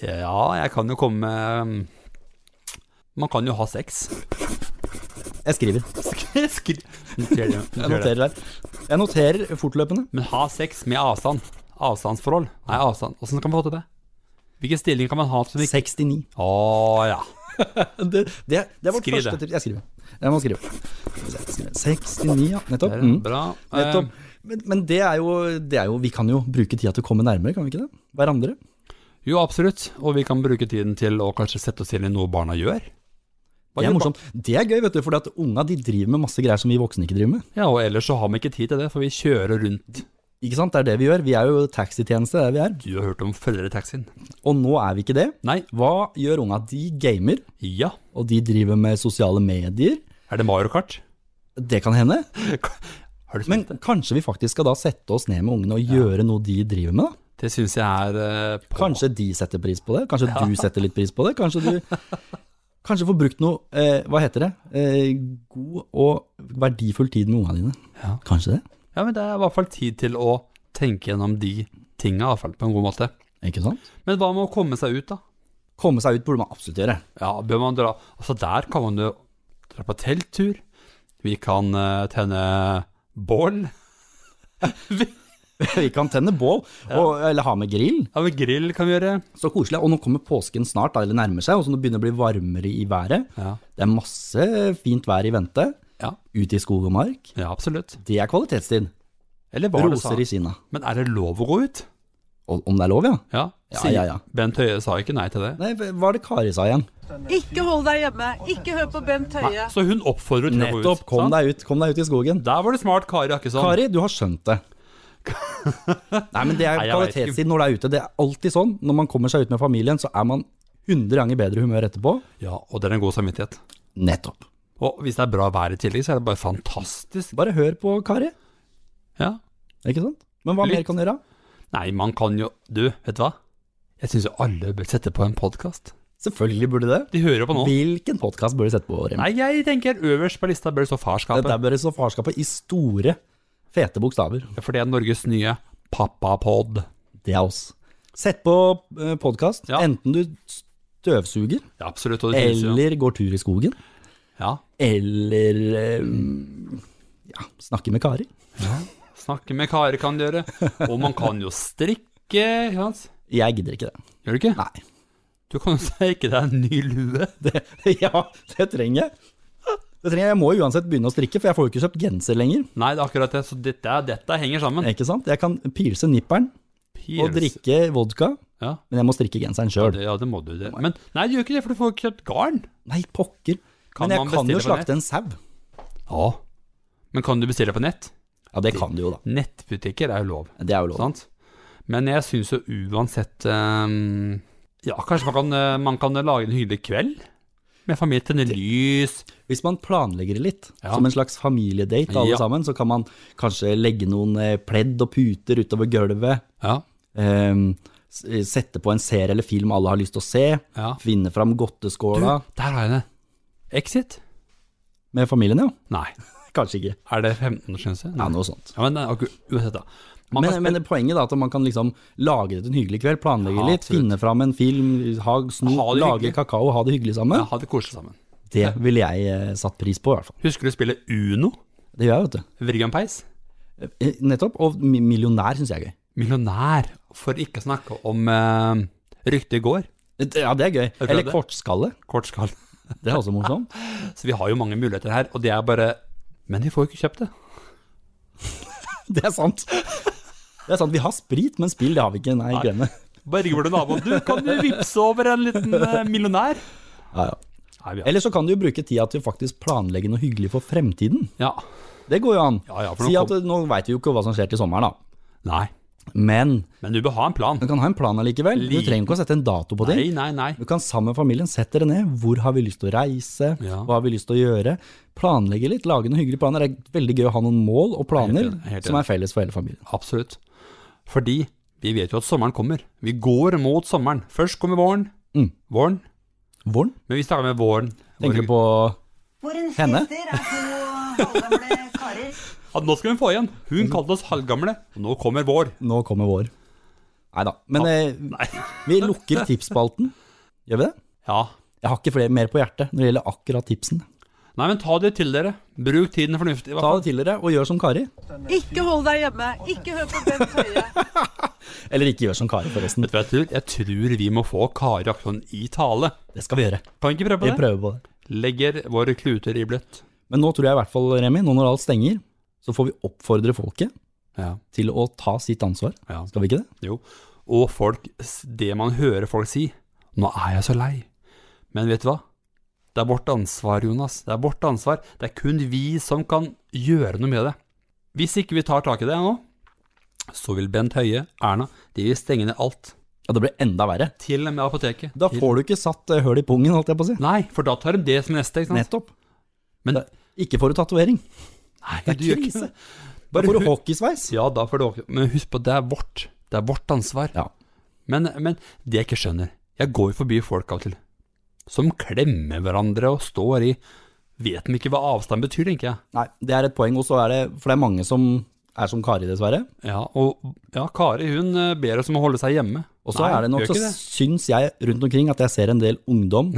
[SPEAKER 2] Ja, jeg kan jo komme med Man kan jo ha sex.
[SPEAKER 1] Jeg skriver.
[SPEAKER 2] Jeg skri- Noter det,
[SPEAKER 1] Jeg
[SPEAKER 2] noter det.
[SPEAKER 1] noterer her. Jeg noterer fortløpende.
[SPEAKER 2] Men ha sex med avstand. Avstandsforhold. Nei, avstand. Åssen kan man få til det? Hvilken stilling kan man ha som ikke
[SPEAKER 1] 69.
[SPEAKER 2] Å ja.
[SPEAKER 1] Det, det, det er vårt
[SPEAKER 2] Skriv det.
[SPEAKER 1] første tips. Jeg skriver. Jeg må skrive. Skal vi se, skrive. 69, ja. Nettopp.
[SPEAKER 2] Det er
[SPEAKER 1] Mm.
[SPEAKER 2] bra.
[SPEAKER 1] Nettopp.
[SPEAKER 2] Eh,
[SPEAKER 1] Men, men det, er jo, det er jo Vi kan jo bruke tida til å komme nærmere, kan vi ikke det? Hverandre.
[SPEAKER 2] jo, absolutt. Og vi kan bruke tiden til å kanskje sette oss inn i noe barna gjør. Hva
[SPEAKER 1] Det er
[SPEAKER 2] gjør
[SPEAKER 1] morsomt. Det er gøy, vet du, for at unga de driver med masse greier som vi voksne ikke driver med.
[SPEAKER 2] Ja, og ellers så har vi ikke tid til det, for vi kjører rundt.
[SPEAKER 1] Ikke sant? Det er det vi gjør. Vi er jo taxitjeneste, det er vi er.
[SPEAKER 2] Du har hørt om følgertaxien?
[SPEAKER 1] Og nå er vi ikke det.
[SPEAKER 2] Nei.
[SPEAKER 1] Hva gjør unga? De gamer,
[SPEAKER 2] Ja.
[SPEAKER 1] og de driver med sosiale medier.
[SPEAKER 2] Er det Mario Kart?
[SPEAKER 1] Det kan hende.
[SPEAKER 2] Har du
[SPEAKER 1] Men
[SPEAKER 2] spilt det?
[SPEAKER 1] kanskje vi faktisk skal da sette oss ned med ungene og gjøre noe de driver med, da.
[SPEAKER 2] Det syns jeg er eh, på.
[SPEAKER 1] Kanskje de setter pris på det. Kanskje du setter litt pris på det. Kanskje du Kanskje får brukt noe eh, Hva heter det? Eh, god og verdifull tid med ungene dine.
[SPEAKER 2] Ja.
[SPEAKER 1] Kanskje det?
[SPEAKER 2] Ja, men det er i hvert fall tid til å tenke gjennom de tinga, i hvert fall på en god måte.
[SPEAKER 1] Ikke sant?
[SPEAKER 2] Men hva med å komme seg ut, da?
[SPEAKER 1] Komme seg ut burde man absolutt gjøre.
[SPEAKER 2] Ja, bør man dra Altså, der kan man jo dra på telttur. Vi kan eh, tenne bål.
[SPEAKER 1] Vi kan tenne bål, og, eller ha med grill.
[SPEAKER 2] Ja, men grill kan vi gjøre.
[SPEAKER 1] Så koselig. Og nå kommer påsken snart, da, eller nærmer seg, og så nå begynner det å bli varmere i været.
[SPEAKER 2] Ja.
[SPEAKER 1] Det er masse fint vær i vente.
[SPEAKER 2] Ja,
[SPEAKER 1] Ute i skog og mark.
[SPEAKER 2] ja absolutt.
[SPEAKER 1] Det er kvalitetstid.
[SPEAKER 2] Eller hva det sa.
[SPEAKER 1] Roser i Kina.
[SPEAKER 2] Men er det lov å gå ut?
[SPEAKER 1] Og om det er lov, ja?
[SPEAKER 2] Ja.
[SPEAKER 1] Ja,
[SPEAKER 2] sier-
[SPEAKER 1] ja, ja.
[SPEAKER 2] Bent Høie sa ikke nei til det.
[SPEAKER 1] Nei, hva er det Kari sa igjen?
[SPEAKER 4] Ikke hold deg hjemme. Ikke hør på Bent Høie.
[SPEAKER 2] Så hun oppfordrer til å gå ut.
[SPEAKER 1] Nettopp. Kom
[SPEAKER 2] sant?
[SPEAKER 1] deg ut. Kom deg ut i skogen.
[SPEAKER 2] Der var det smart, Kari Akkesson.
[SPEAKER 1] Kari, du har skjønt det. Nei, men det er
[SPEAKER 2] Nei, jeg vet ikke.
[SPEAKER 1] kvalitetstid når det er ute. Det er alltid sånn. Når man kommer seg ut med familien, så er man 100 ganger bedre humør etterpå.
[SPEAKER 2] Ja, og det er en god samvittighet.
[SPEAKER 1] Nettopp.
[SPEAKER 2] Og hvis det er bra vær i tillegg, så er det bare fantastisk.
[SPEAKER 1] Bare hør på Kari,
[SPEAKER 2] Ja.
[SPEAKER 1] ikke sant? Men hva
[SPEAKER 2] Lytt.
[SPEAKER 1] mer kan du gjøre?
[SPEAKER 2] Nei, man kan jo Du, vet du hva? Jeg syns jo alle bør sette på en podkast.
[SPEAKER 1] Selvfølgelig burde det.
[SPEAKER 2] De hører jo på nå.
[SPEAKER 1] Hvilken podkast bør du sette på? Remi?
[SPEAKER 2] Nei, altså. jeg tenker øverst på lista bør det stå
[SPEAKER 1] Dette
[SPEAKER 2] Farskapet.
[SPEAKER 1] bør det stå farskapet i store, fete bokstaver.
[SPEAKER 2] For det er Norges nye pappapod.
[SPEAKER 1] Det er oss. Sett på podkast,
[SPEAKER 2] Ja.
[SPEAKER 1] enten du støvsuger,
[SPEAKER 2] Ja, absolutt. Og det finnes jo.
[SPEAKER 1] eller går tur i skogen,
[SPEAKER 2] Ja.
[SPEAKER 1] eller eh, ja, snakker med Kari.
[SPEAKER 2] Snakke med Kari kan du gjøre. Og man kan jo strikke. ikke sant?
[SPEAKER 1] Jeg gidder ikke det.
[SPEAKER 2] Gjør du ikke?
[SPEAKER 1] Nei.
[SPEAKER 2] Du kan jo strikke deg en ny lue.
[SPEAKER 1] Det, ja, det trenger jeg. Det trenger jeg. jeg må uansett begynne å strikke, for jeg får jo ikke kjøpt genser lenger.
[SPEAKER 2] Nei, det er akkurat det. Så dette, dette henger sammen.
[SPEAKER 1] Ikke sant? Jeg kan pilse nipperen og
[SPEAKER 2] Pils.
[SPEAKER 1] drikke vodka,
[SPEAKER 2] Ja.
[SPEAKER 1] men jeg må strikke genseren sjøl.
[SPEAKER 2] Det, ja, det må du.
[SPEAKER 1] Oh
[SPEAKER 2] det. Men nei, du gjør ikke det, for du får ikke kjøpt garn.
[SPEAKER 1] Nei, pokker.
[SPEAKER 2] Kan
[SPEAKER 1] men
[SPEAKER 2] man
[SPEAKER 1] jeg kan
[SPEAKER 2] bestille
[SPEAKER 1] jo
[SPEAKER 2] på nett?
[SPEAKER 1] slakte en sau.
[SPEAKER 2] Ja. Men kan du bestille på nett?
[SPEAKER 1] Ja, det kan du jo, da.
[SPEAKER 2] Nettbutikker er jo lov.
[SPEAKER 1] Det er jo lov.
[SPEAKER 2] Sant? Men jeg syns jo uansett ehm, Ja, kanskje man kan, eh, man kan lage en hyggelig kveld? Med familie, tenne lys
[SPEAKER 1] Hvis man planlegger det litt,
[SPEAKER 2] Ja.
[SPEAKER 1] som en slags familiedate alle
[SPEAKER 2] Ja.
[SPEAKER 1] sammen, så kan man kanskje legge noen eh, pledd og puter utover gulvet.
[SPEAKER 2] Ja.
[SPEAKER 1] ehm, s- Sette på en serie eller film alle har lyst til å se.
[SPEAKER 2] ja.
[SPEAKER 1] Finne fram
[SPEAKER 2] Du,
[SPEAKER 1] godteskåla
[SPEAKER 2] der har jeg det. Exit?
[SPEAKER 1] med familien, ja.
[SPEAKER 2] Nei.
[SPEAKER 1] Kanskje ikke.
[SPEAKER 2] Er det 15-årsgrense?
[SPEAKER 1] Ja, noe sånt.
[SPEAKER 2] Ja, men eh, ok, uansett, da. Man
[SPEAKER 1] Men,
[SPEAKER 2] kan
[SPEAKER 1] men
[SPEAKER 2] spille-
[SPEAKER 1] poenget er at man kan liksom lage det til en hyggelig kveld, planlegge
[SPEAKER 2] Ja,
[SPEAKER 1] litt,
[SPEAKER 2] absolutt.
[SPEAKER 1] finne fram en film, ha snop,
[SPEAKER 2] Ha det
[SPEAKER 1] lage
[SPEAKER 2] hyggelig.
[SPEAKER 1] kakao, ha det hyggelig sammen.
[SPEAKER 2] ja, ha det koselig sammen.
[SPEAKER 1] Det ville jeg eh, satt pris på, i hvert fall.
[SPEAKER 2] Husker du spillet Uno?
[SPEAKER 1] Det gjør jeg, vet du.
[SPEAKER 2] Vrigan Peis?
[SPEAKER 1] Eh, Nettopp. Og mi- millionær syns jeg er gøy.
[SPEAKER 2] Millionær, for ikke å snakke om uh, ryktet i går.
[SPEAKER 1] Det- Ja, det er gøy.
[SPEAKER 2] prøvd
[SPEAKER 1] Eller
[SPEAKER 2] det?
[SPEAKER 1] kortskalle.
[SPEAKER 2] Kort skall.
[SPEAKER 1] Det er også morsomt.
[SPEAKER 2] Så vi har jo mange muligheter her, og det er bare Men vi får jo ikke kjøpt det.
[SPEAKER 1] Det er sant. Det er sant. Vi har sprit, men spill det har vi ikke. Nei, glem det.
[SPEAKER 2] Bergvorde nabo, du kan du vippse over en liten eh, millionær?
[SPEAKER 1] Ja, ja.
[SPEAKER 2] Nei, vi har.
[SPEAKER 1] Eller så kan du jo bruke tida til å faktisk planlegge noe hyggelig for fremtiden.
[SPEAKER 2] Ja.
[SPEAKER 1] Det går jo an.
[SPEAKER 2] Ja, ja, for nå
[SPEAKER 1] si at
[SPEAKER 2] kom-
[SPEAKER 1] eh, nå veit vi jo ikke hva som skjer til sommeren, da.
[SPEAKER 2] Nei,
[SPEAKER 1] Men
[SPEAKER 2] men du bør ha en plan.
[SPEAKER 1] man kan ha en plan allikevel. Du
[SPEAKER 2] Li-
[SPEAKER 1] trenger ikke å sette en dato på ting.
[SPEAKER 2] Nei, nei, nei.
[SPEAKER 1] Du kan sammen med familien sette dere ned. Hvor har vi lyst til å reise?
[SPEAKER 2] Ja.
[SPEAKER 1] Hva har vi lyst til å gjøre? Planlegge litt, lage noen hyggelige planer. Det er veldig gøy å ha noen mål og planer
[SPEAKER 2] Helt enig, helt
[SPEAKER 1] som er felles for hele familien.
[SPEAKER 2] Absolutt. Fordi vi vet jo at sommeren kommer. Vi går mot sommeren. Først kommer våren.
[SPEAKER 1] Mm.
[SPEAKER 2] Våren.
[SPEAKER 1] Våren?
[SPEAKER 2] Men vi starter med våren.
[SPEAKER 1] Tenker du på
[SPEAKER 3] Vårens
[SPEAKER 1] Henne?
[SPEAKER 3] gjester er to halvgamle karer.
[SPEAKER 1] Mm.
[SPEAKER 2] Ja, nå skal vi få igjen. Hun kalte oss halvgamle. Og nå kommer vår.
[SPEAKER 1] Nå kommer vår. Nei da. Men eh, vi lukker tipsspalten. Gjør vi det?
[SPEAKER 2] Ja.
[SPEAKER 1] Jeg har ikke flere, mer på hjertet når det gjelder akkurat tipsen.
[SPEAKER 2] Nei, men ta det til dere. Bruk tiden fornuftig. i hvert
[SPEAKER 1] Ta
[SPEAKER 2] fall.
[SPEAKER 1] det til dere, og gjør som Kari.
[SPEAKER 4] Ikke hold deg hjemme. Ikke hør på Bent Høie.
[SPEAKER 1] Eller ikke gjør som Kari, forresten.
[SPEAKER 2] Vet du hva jeg tror? Jeg tror vi må få Kari Akson i tale.
[SPEAKER 1] Det skal vi gjøre.
[SPEAKER 2] Kan vi ikke prøve på
[SPEAKER 1] Vi
[SPEAKER 2] det?
[SPEAKER 1] prøver på det.
[SPEAKER 2] Legger våre kluter i bløtt.
[SPEAKER 1] Men nå tror jeg i hvert fall, Remi, nå når alt stenger, så får vi oppfordre folket
[SPEAKER 2] Ja.
[SPEAKER 1] til å ta sitt ansvar.
[SPEAKER 2] ja.
[SPEAKER 1] Skal vi ikke det?
[SPEAKER 2] Jo. Og folk, det man hører folk si Nå er jeg så lei. Men vet du hva? Det er vårt ansvar, Jonas. Det er vårt ansvar. Det er kun vi som kan gjøre noe med det. Hvis ikke vi tar tak i det nå, så vil Bent Høie, Erna, de vil stenge ned alt.
[SPEAKER 1] Ja, det blir enda verre.
[SPEAKER 2] Til og med apoteket.
[SPEAKER 1] Da får du ikke satt eh, høl i pungen, holdt jeg på å si.
[SPEAKER 2] Nei, for da tar de det som neste, ikke sant?
[SPEAKER 1] Nettopp.
[SPEAKER 2] Men-
[SPEAKER 1] Det- ikke får du tatovering.
[SPEAKER 2] Nei,
[SPEAKER 1] Det
[SPEAKER 2] du
[SPEAKER 1] er
[SPEAKER 2] gjør ikke
[SPEAKER 1] krise.
[SPEAKER 2] det.
[SPEAKER 1] Da
[SPEAKER 2] Bare
[SPEAKER 1] får du
[SPEAKER 2] hu-
[SPEAKER 1] hockeysveis.
[SPEAKER 2] Ja, da får du åke. Men husk på, det er vårt. Det er vårt ansvar.
[SPEAKER 1] Ja.
[SPEAKER 2] Men, men det jeg ikke skjønner Jeg går jo forbi folk av og til som klemmer hverandre og står i Vet de ikke hva avstand betyr, tenker jeg.
[SPEAKER 1] Nei, det er et poeng, og så er det For det er mange som er som Kari, dessverre.
[SPEAKER 2] Ja, og ja, Kari hun eh, ber oss om å holde seg hjemme.
[SPEAKER 1] Og så er det nok, så syns jeg rundt omkring at jeg ser en del ungdom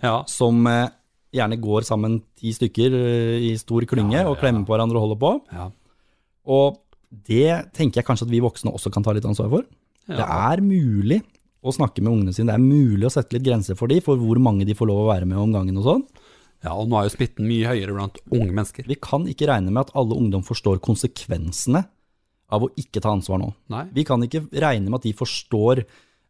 [SPEAKER 2] ja.
[SPEAKER 1] som eh, gjerne går sammen ti stykker eh, i stor klynge og klemmer på hverandre og holder på.
[SPEAKER 2] Ja.
[SPEAKER 1] Og det tenker jeg kanskje at vi voksne også kan ta litt ansvar for. Det er mulig å snakke med ungene sine, det er mulig å sette litt grenser for de, for hvor mange de får lov å være med om gangen og sånn.
[SPEAKER 2] ja, og nå er jo smitten mye høyere blant unge mennesker.
[SPEAKER 1] Vi kan ikke regne med at alle ungdom forstår konsekvensene av å ikke ta ansvar nå.
[SPEAKER 2] Nei.
[SPEAKER 1] Vi kan ikke regne med at de forstår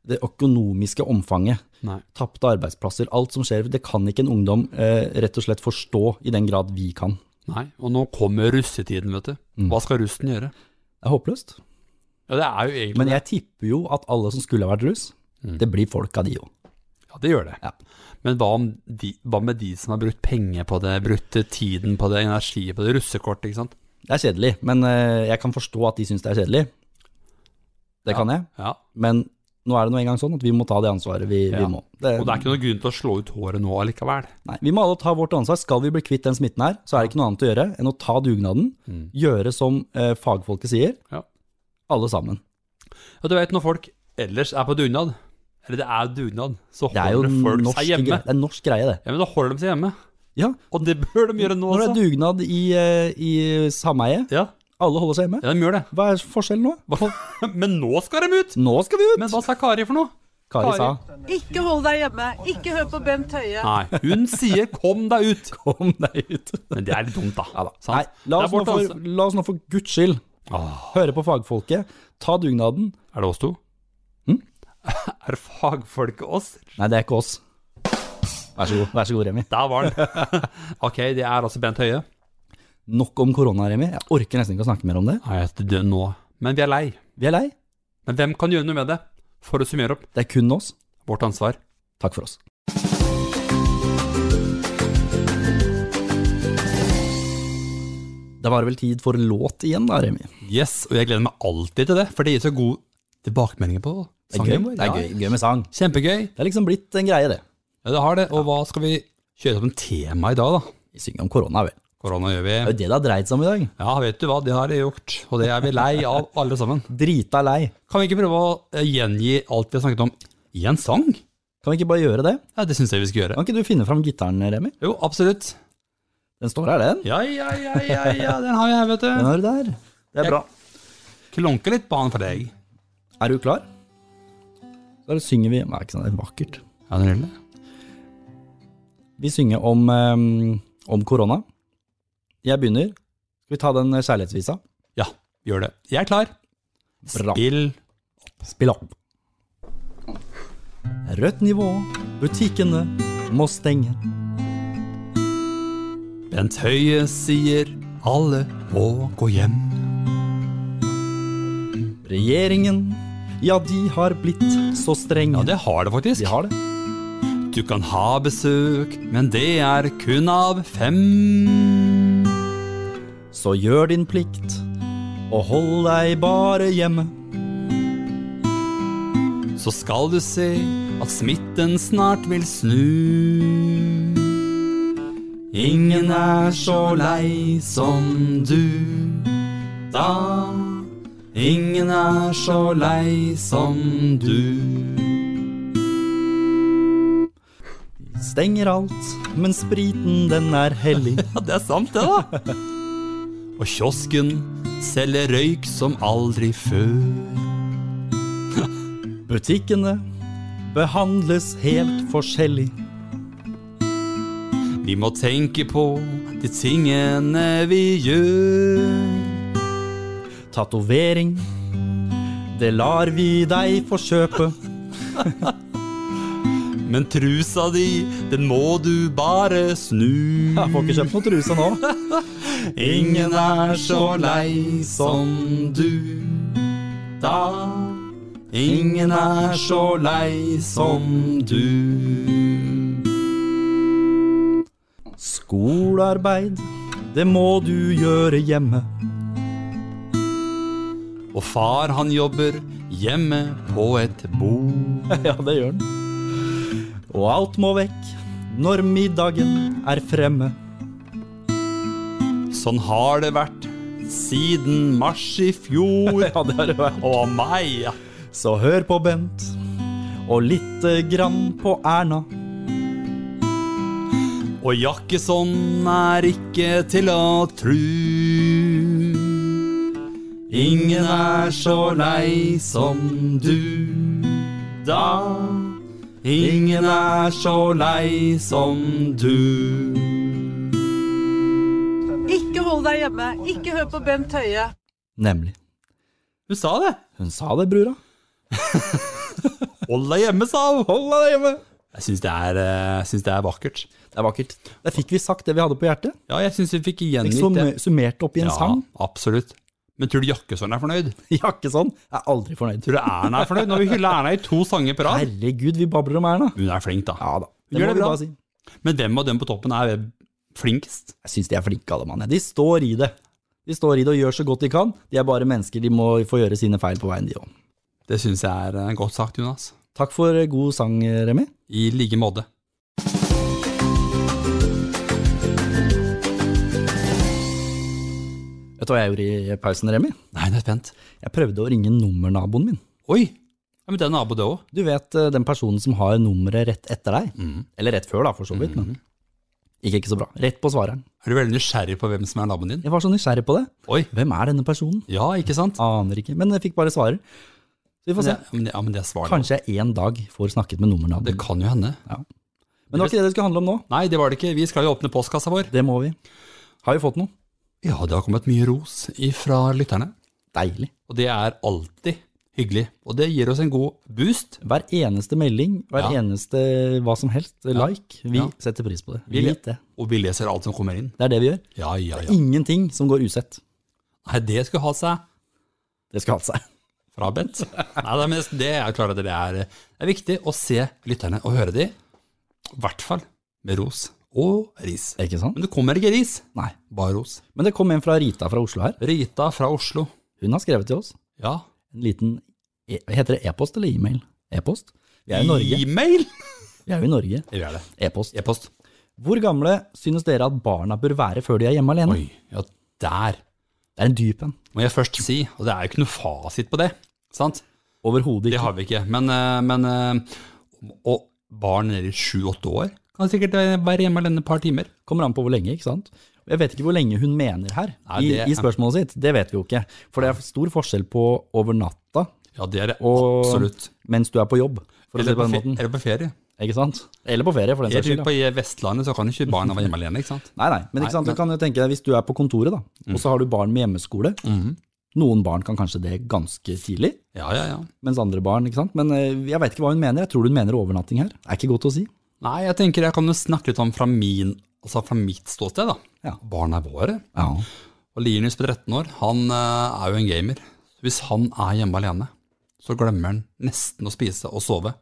[SPEAKER 1] det økonomiske omfanget
[SPEAKER 2] Nei.
[SPEAKER 1] tapte arbeidsplasser, alt som skjer. Det kan ikke en ungdom eh, rett og slett forstå i den grad vi kan.
[SPEAKER 2] Nei. Og nå kommer russetiden, vet du.
[SPEAKER 1] Mm.
[SPEAKER 2] Hva skal russen gjøre?
[SPEAKER 1] Det er håpløst.
[SPEAKER 2] Ja, det er jo egentlig
[SPEAKER 1] Men jeg tipper jo at alle som skulle ha vært russ,
[SPEAKER 2] Mm.
[SPEAKER 1] det blir folk av de jo.
[SPEAKER 2] Ja, det gjør det.
[SPEAKER 1] Ja.
[SPEAKER 2] Men hva, om de, hva med de som har brukt penger på det, brukt tiden på det, energi på det, russekortet, ikke sant?
[SPEAKER 1] Det er kjedelig, men eh, jeg kan forstå at de syns det er kjedelig. Det kan jeg.
[SPEAKER 2] Ja,
[SPEAKER 1] Men nå er det nå engang sånn at vi må ta det ansvaret vi,
[SPEAKER 2] Ja.
[SPEAKER 1] vi må.
[SPEAKER 2] og det er ikke noen grunn til å slå ut håret nå allikevel.
[SPEAKER 1] Nei, vi må alle ta vårt ansvar. Skal vi bli kvitt den smitten her, så er det ikke noe annet å gjøre enn å ta dugnaden. Gjøre som eh, fagfolket sier.
[SPEAKER 2] Mm. Ja.
[SPEAKER 1] Alle sammen.
[SPEAKER 2] Og du vet når folk ellers er på dugnad, eller det er dugnad, så
[SPEAKER 1] Det er jo
[SPEAKER 2] holder folk
[SPEAKER 1] norsk
[SPEAKER 2] seg
[SPEAKER 1] greie.
[SPEAKER 2] hjemme.
[SPEAKER 1] Det er norsk greie, det.
[SPEAKER 2] Ja, men da holder de seg hjemme.
[SPEAKER 1] Ja,
[SPEAKER 2] Og det bør de gjøre nå
[SPEAKER 1] Når det er
[SPEAKER 2] også.
[SPEAKER 1] dugnad i, eh, i sameie,
[SPEAKER 2] Ja,
[SPEAKER 1] alle holder seg hjemme.
[SPEAKER 2] ja, de gjør det.
[SPEAKER 1] Hva er forskjellen nå?
[SPEAKER 2] Hva- Men nå skal de ut!
[SPEAKER 1] Nå skal vi ut!
[SPEAKER 2] Men hva sa Kari for noe?
[SPEAKER 1] Kari sa
[SPEAKER 4] Ikke hold deg hjemme. Ikke hør på Bent Høie.
[SPEAKER 2] Nei, hun sier 'kom deg ut'.
[SPEAKER 1] kom deg ut.
[SPEAKER 2] Men det er litt dumt, da. Ja,
[SPEAKER 1] Nei, la oss, nå for,
[SPEAKER 2] altså.
[SPEAKER 1] la oss nå for guds skyld høre på fagfolket. Ta dugnaden.
[SPEAKER 2] Er det oss to?
[SPEAKER 1] Hm?
[SPEAKER 2] Er fagfolket oss?
[SPEAKER 1] Nei, det er ikke oss. Vær så god, vær så god Remi.
[SPEAKER 2] Der var den. ok, det er altså Bent Høie.
[SPEAKER 1] Nok om korona, Remi. Jeg orker nesten ikke å snakke mer om det.
[SPEAKER 2] Nei, jeg er død nå. Men vi er lei.
[SPEAKER 1] Vi er lei.
[SPEAKER 2] Men hvem kan gjøre noe med det? For å summere opp,
[SPEAKER 1] Det er kun oss.
[SPEAKER 2] vårt ansvar.
[SPEAKER 1] Takk for oss. Da var det vel tid for låt igjen da, Remi.
[SPEAKER 2] Yes, og jeg gleder meg alltid til det, for det gir så gode tilbakemeldinger på
[SPEAKER 1] Det er
[SPEAKER 2] sangen
[SPEAKER 1] gøy,
[SPEAKER 2] vår.
[SPEAKER 1] det er
[SPEAKER 2] Ja.
[SPEAKER 1] gøy, gøy med sang.
[SPEAKER 2] Kjempegøy.
[SPEAKER 1] Det er liksom blitt en greie, det.
[SPEAKER 2] Ja, det har det. Og hva skal vi kjøre som tema i dag, da?
[SPEAKER 1] Vi synger om korona, vel.
[SPEAKER 2] Korona gjør vi.
[SPEAKER 1] Det er jo det det har dreid seg om i dag.
[SPEAKER 2] Ja, vet du hva, det har vi gjort. Og det er vi lei av, alle sammen.
[SPEAKER 1] Drita lei.
[SPEAKER 2] Kan vi ikke prøve å eh, gjengi alt vi har snakket om i en sang?
[SPEAKER 1] Kan vi ikke bare gjøre det?
[SPEAKER 2] Ja, det syns jeg vi skal gjøre.
[SPEAKER 1] Kan ikke du finne fram gitaren, Remi?
[SPEAKER 2] Jo, absolutt.
[SPEAKER 1] Den står her, den.
[SPEAKER 2] Ja, ja, ja, ja, ja, den har jeg her, vet
[SPEAKER 1] Den
[SPEAKER 2] du.
[SPEAKER 1] har du der. Det er bra.
[SPEAKER 2] Klonke litt på han for deg.
[SPEAKER 1] Er du klar? Da synger vi Nei, ikke sant, det er vakkert.
[SPEAKER 2] Ja, den gjør det.
[SPEAKER 1] Vi synger om, eh, om korona. Jeg begynner. Skal vi ta den eh, kjærlighetsvisa?
[SPEAKER 2] Ja, gjør det. Jeg er klar.
[SPEAKER 1] Bra.
[SPEAKER 2] Spill.
[SPEAKER 1] Spill opp. Rødt nivå. Butikkene må stenge.
[SPEAKER 2] Bent Høie sier alle må gå hjem.
[SPEAKER 1] Regjeringen, ja, de har blitt så strenge.
[SPEAKER 2] Ja, det har det faktisk.
[SPEAKER 1] De har det.
[SPEAKER 2] Du kan ha besøk, men det er kun av fem.
[SPEAKER 1] Så gjør din plikt, og hold deg bare hjemme.
[SPEAKER 2] Så skal du se at smitten snart vil snu. Ingen er så lei som du. Da Ingen er så lei som du.
[SPEAKER 1] Stenger alt, men spriten den er hellig.
[SPEAKER 2] Ja, det er sant, det, da. Og kiosken selger røyk som aldri før.
[SPEAKER 1] Butikkene behandles helt forskjellig.
[SPEAKER 2] Vi må tenke på de tingene vi gjør.
[SPEAKER 1] Tatovering, det lar vi deg få kjøpe.
[SPEAKER 2] Men trusa di, den må du bare snu.
[SPEAKER 1] Jeg får ikke kjøpt noe truse nå.
[SPEAKER 2] Ingen er så lei som du da. Ingen er så lei som du.
[SPEAKER 1] Skolearbeid, det må du gjøre hjemme.
[SPEAKER 2] Og far han jobber hjemme på et bord.
[SPEAKER 1] Ja, det gjør den. Og alt må vekk når middagen er fremme.
[SPEAKER 2] Sånn har det vært siden mars i fjor.
[SPEAKER 1] Ja, det har det vært.
[SPEAKER 2] Å meg!
[SPEAKER 1] Så hør på Bent, og lite grann på Erna.
[SPEAKER 2] Og Jakkesson er ikke til å tru. Ingen er så lei som du da. Ingen er så lei som du.
[SPEAKER 4] Ikke hold deg hjemme. Ikke hør på Bent Høie.
[SPEAKER 1] Nemlig.
[SPEAKER 2] Hun sa det.
[SPEAKER 1] Hun sa det, brura.
[SPEAKER 2] Hold deg hjemme, sa hun.
[SPEAKER 1] Hold deg hjemme.
[SPEAKER 2] Jeg syns det, er, eh, jeg synes det er vakkert.
[SPEAKER 1] Det er vakkert. Der fikk vi sagt det vi hadde på hjertet.
[SPEAKER 2] Ja, jeg syns vi fikk
[SPEAKER 1] Fikk
[SPEAKER 2] gjengitt det.
[SPEAKER 1] sum- summert opp i Liksom en
[SPEAKER 2] Ja,
[SPEAKER 1] sang.
[SPEAKER 2] absolutt. Men tror du Jakkesson er fornøyd?
[SPEAKER 1] Jakkesson sånn. er aldri fornøyd.
[SPEAKER 2] Tror du Erna er fornøyd? Når vi hyller Erna i to sanger på rad.
[SPEAKER 1] Herregud, vi babler om Erna.
[SPEAKER 2] Hun er flink, da.
[SPEAKER 1] Ja da.
[SPEAKER 2] Hun
[SPEAKER 1] Det
[SPEAKER 2] gjør
[SPEAKER 1] må
[SPEAKER 2] det
[SPEAKER 1] vi
[SPEAKER 2] bra.
[SPEAKER 1] bare si.
[SPEAKER 2] Men hvem av dem på toppen er flinkest?
[SPEAKER 1] Jeg syns de er flinke, alle mann. jeg. De står i det. De står i det og gjør så godt de kan. De er bare mennesker, de må få gjøre sine feil på veien, de òg.
[SPEAKER 2] Det syns jeg er eh, godt sagt, Jonas.
[SPEAKER 1] Takk for god sang, Remi.
[SPEAKER 2] I like måte.
[SPEAKER 1] Vet du hva jeg gjorde i pausen, Remi?
[SPEAKER 2] Nei, nå er jeg spent.
[SPEAKER 1] Jeg prøvde å ringe nummernaboen min.
[SPEAKER 2] Oi! Ja, men det er nabo, det òg.
[SPEAKER 1] Du vet eh, den personen som har nummeret rett etter deg?
[SPEAKER 2] Mhm.
[SPEAKER 1] Eller rett før, da, for så vidt. Men gikk ikke så bra. Rett på svareren.
[SPEAKER 2] Er du veldig nysgjerrig på hvem som er naboen din?
[SPEAKER 1] Jeg var så nysgjerrig på det.
[SPEAKER 2] Oi!
[SPEAKER 1] Hvem er denne personen?
[SPEAKER 2] Ja, ikke sant?
[SPEAKER 1] Aner ikke. Men jeg fikk bare svarer. Så vi får se.
[SPEAKER 2] Ja, men, det- ja, men det er svaret.
[SPEAKER 1] Kanskje jeg en dag får snakket med
[SPEAKER 2] Det
[SPEAKER 1] nummernaboen.
[SPEAKER 2] kan jo hende.
[SPEAKER 1] Men det var ikke det det skulle handle om nå.
[SPEAKER 2] Nei, det var det ikke. Vi skal jo åpne postkassa vår.
[SPEAKER 1] Det må vi. Har vi fått noe?
[SPEAKER 2] Ja, det har kommet mye ros ifra lytterne.
[SPEAKER 1] Deilig.
[SPEAKER 2] Og det er alltid hyggelig. Og det gir oss en god boost.
[SPEAKER 1] Hver eneste melding, hver
[SPEAKER 2] Ja.
[SPEAKER 1] eneste hva som helst, like, vi
[SPEAKER 2] Ja.
[SPEAKER 1] setter pris på det.
[SPEAKER 2] Vi-
[SPEAKER 1] Vit det.
[SPEAKER 2] Og vi leser alt som kommer inn.
[SPEAKER 1] Det er det vi gjør.
[SPEAKER 2] Ja, ja, ja.
[SPEAKER 1] Ingenting som går usett.
[SPEAKER 2] Nei, det skulle ha seg
[SPEAKER 1] Det skal ha seg.
[SPEAKER 2] fra Bent. Nei, nei, men det er jo klart at det er, eh, det er viktig å se lytterne og høre de. I hvert fall med ros og ris.
[SPEAKER 1] Ikke sant?
[SPEAKER 2] Men det kommer ikke ris,
[SPEAKER 1] Nei.
[SPEAKER 2] bare ros.
[SPEAKER 1] Men det kom en fra Rita fra Oslo her.
[SPEAKER 2] Rita fra Oslo.
[SPEAKER 1] Hun har skrevet til oss
[SPEAKER 2] Ja.
[SPEAKER 1] en liten e Heter det e-post eller e-mail? E-post? Vi er jo i Norge.
[SPEAKER 2] E-mail!
[SPEAKER 1] Vi er jo i Norge.
[SPEAKER 2] Vi er det.
[SPEAKER 1] E-post.
[SPEAKER 2] E-post.
[SPEAKER 1] Hvor gamle synes dere at barna bør være før de er hjemme alene?
[SPEAKER 2] Oi, ja, der
[SPEAKER 1] Det er en dyp en.
[SPEAKER 2] må jeg først si, og det er jo ikke noe fasit på det, sant?
[SPEAKER 1] Overhodet
[SPEAKER 2] Det
[SPEAKER 1] ikke.
[SPEAKER 2] har vi ikke. Men, eh, men eh, og barn nede i sju-åtte år kan sikkert være hjemme alene et par timer.
[SPEAKER 1] Kommer an på hvor lenge, ikke sant? Og Jeg vet ikke hvor lenge hun mener her
[SPEAKER 2] Nei,
[SPEAKER 1] i,
[SPEAKER 2] det-
[SPEAKER 1] i spørsmålet sitt. Det vet vi jo ikke. For det er stor forskjell på over natta
[SPEAKER 2] Ja, det er det
[SPEAKER 1] og
[SPEAKER 2] absolutt.
[SPEAKER 1] mens du er på jobb, for å si
[SPEAKER 2] Eller
[SPEAKER 1] det på den
[SPEAKER 2] på, fe
[SPEAKER 1] måten.
[SPEAKER 2] eller på ferie.
[SPEAKER 1] Ikke sant? Eller på ferie, for den
[SPEAKER 2] Jeg
[SPEAKER 1] saks
[SPEAKER 2] tror
[SPEAKER 1] skyld.
[SPEAKER 2] på
[SPEAKER 1] ja.
[SPEAKER 2] i Vestlandet så kan ikke barna være hjemme alene, ikke sant?
[SPEAKER 1] Nei, nei, men
[SPEAKER 2] Nei, Mm.
[SPEAKER 1] ikke sant? du
[SPEAKER 2] men-
[SPEAKER 1] kan jo tenke deg hvis du er på kontoret, da, og så har du barn med hjemmeskole.
[SPEAKER 2] Mm.
[SPEAKER 1] Noen barn kan kanskje det ganske tidlig,
[SPEAKER 2] Ja, ja, ja.
[SPEAKER 1] mens andre barn ikke sant? Men eh, jeg veit ikke hva hun mener. Jeg tror hun mener overnatting her. Er ikke godt å si.
[SPEAKER 2] Nei, jeg tenker jeg kan jo snakke litt om fra min, altså fra mitt ståsted da.
[SPEAKER 1] Ja.
[SPEAKER 2] Barna er våre.
[SPEAKER 1] Ja.
[SPEAKER 2] Og Linus på 13 år, han eh, er jo en gamer. Hvis han er hjemme alene, så glemmer han nesten å spise og sove.